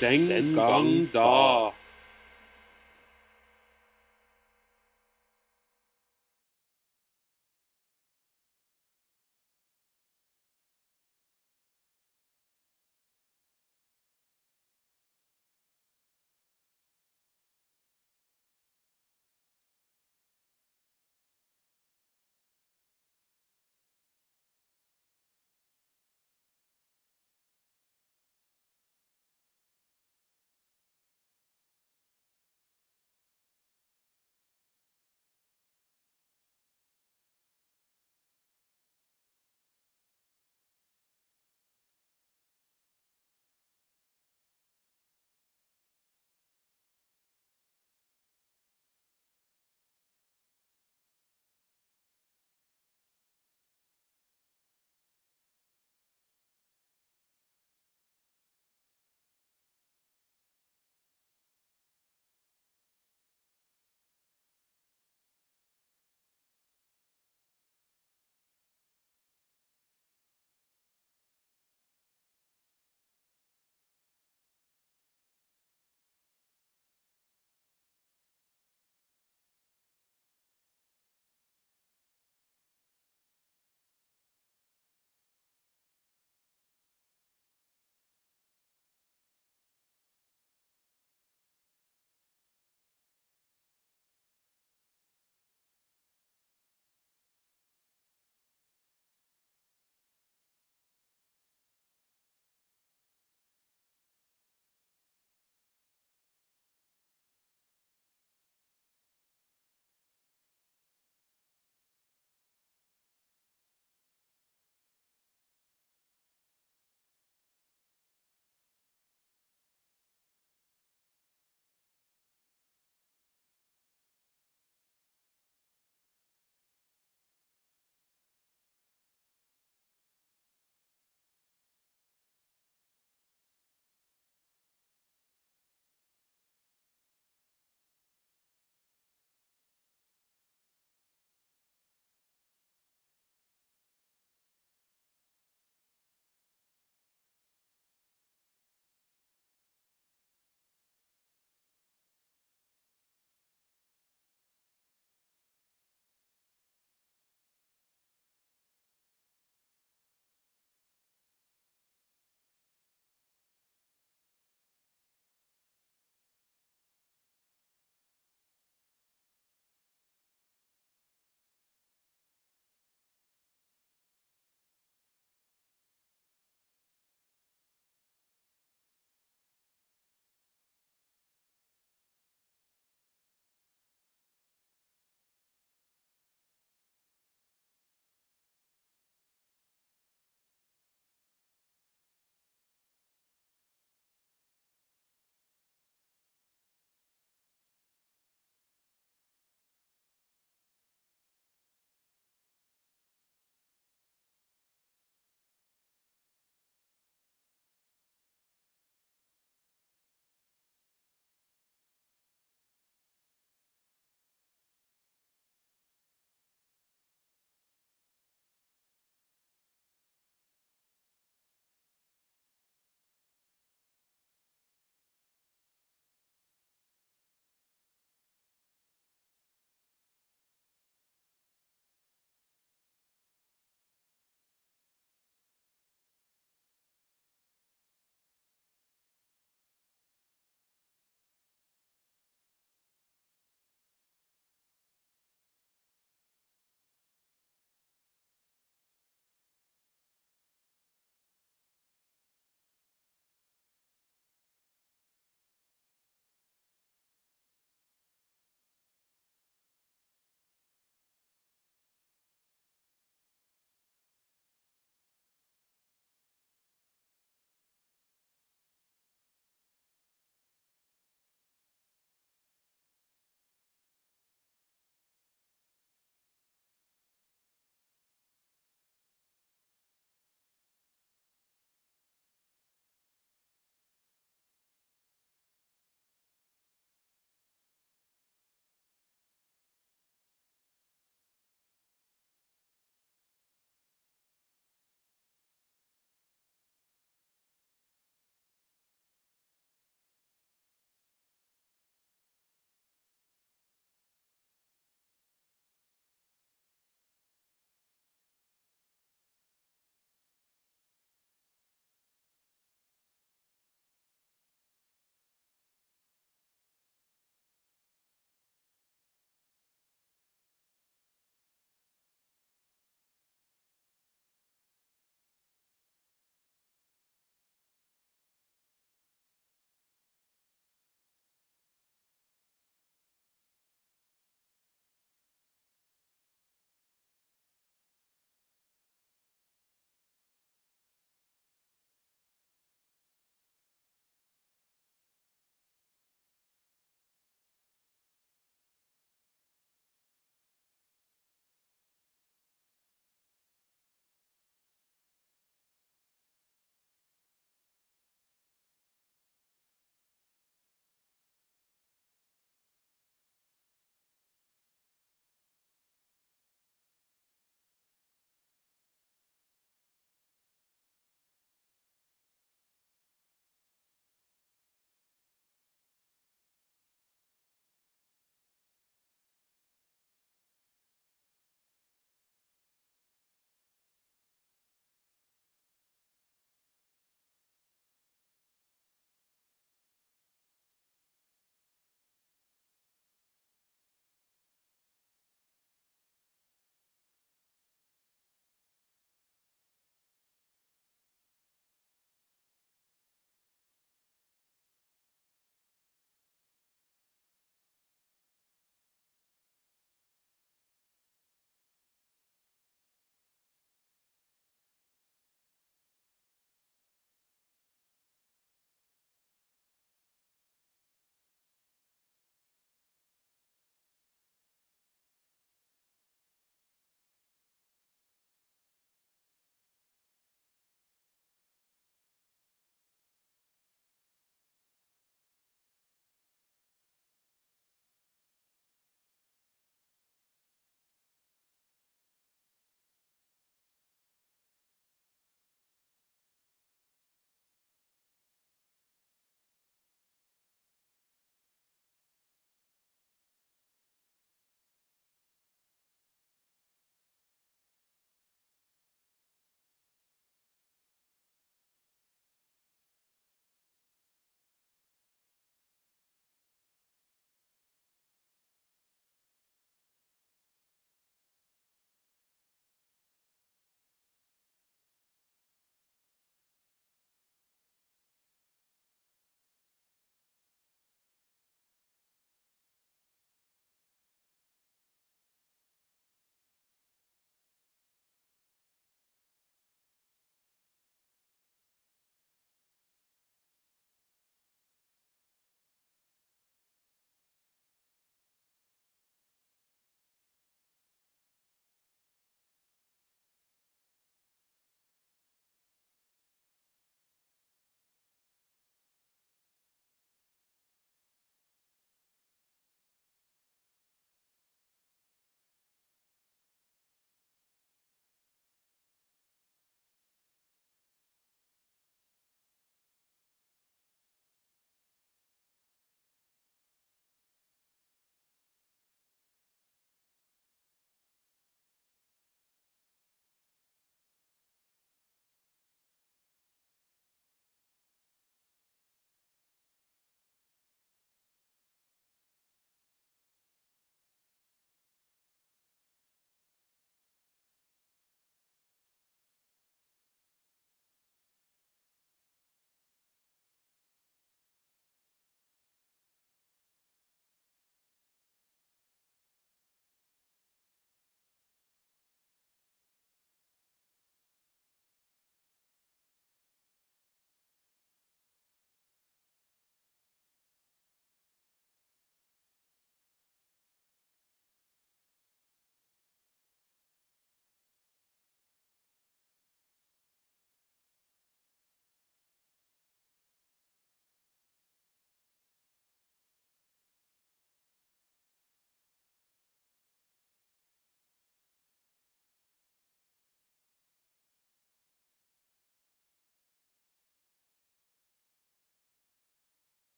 S6: brukt.
S4: Den gang da.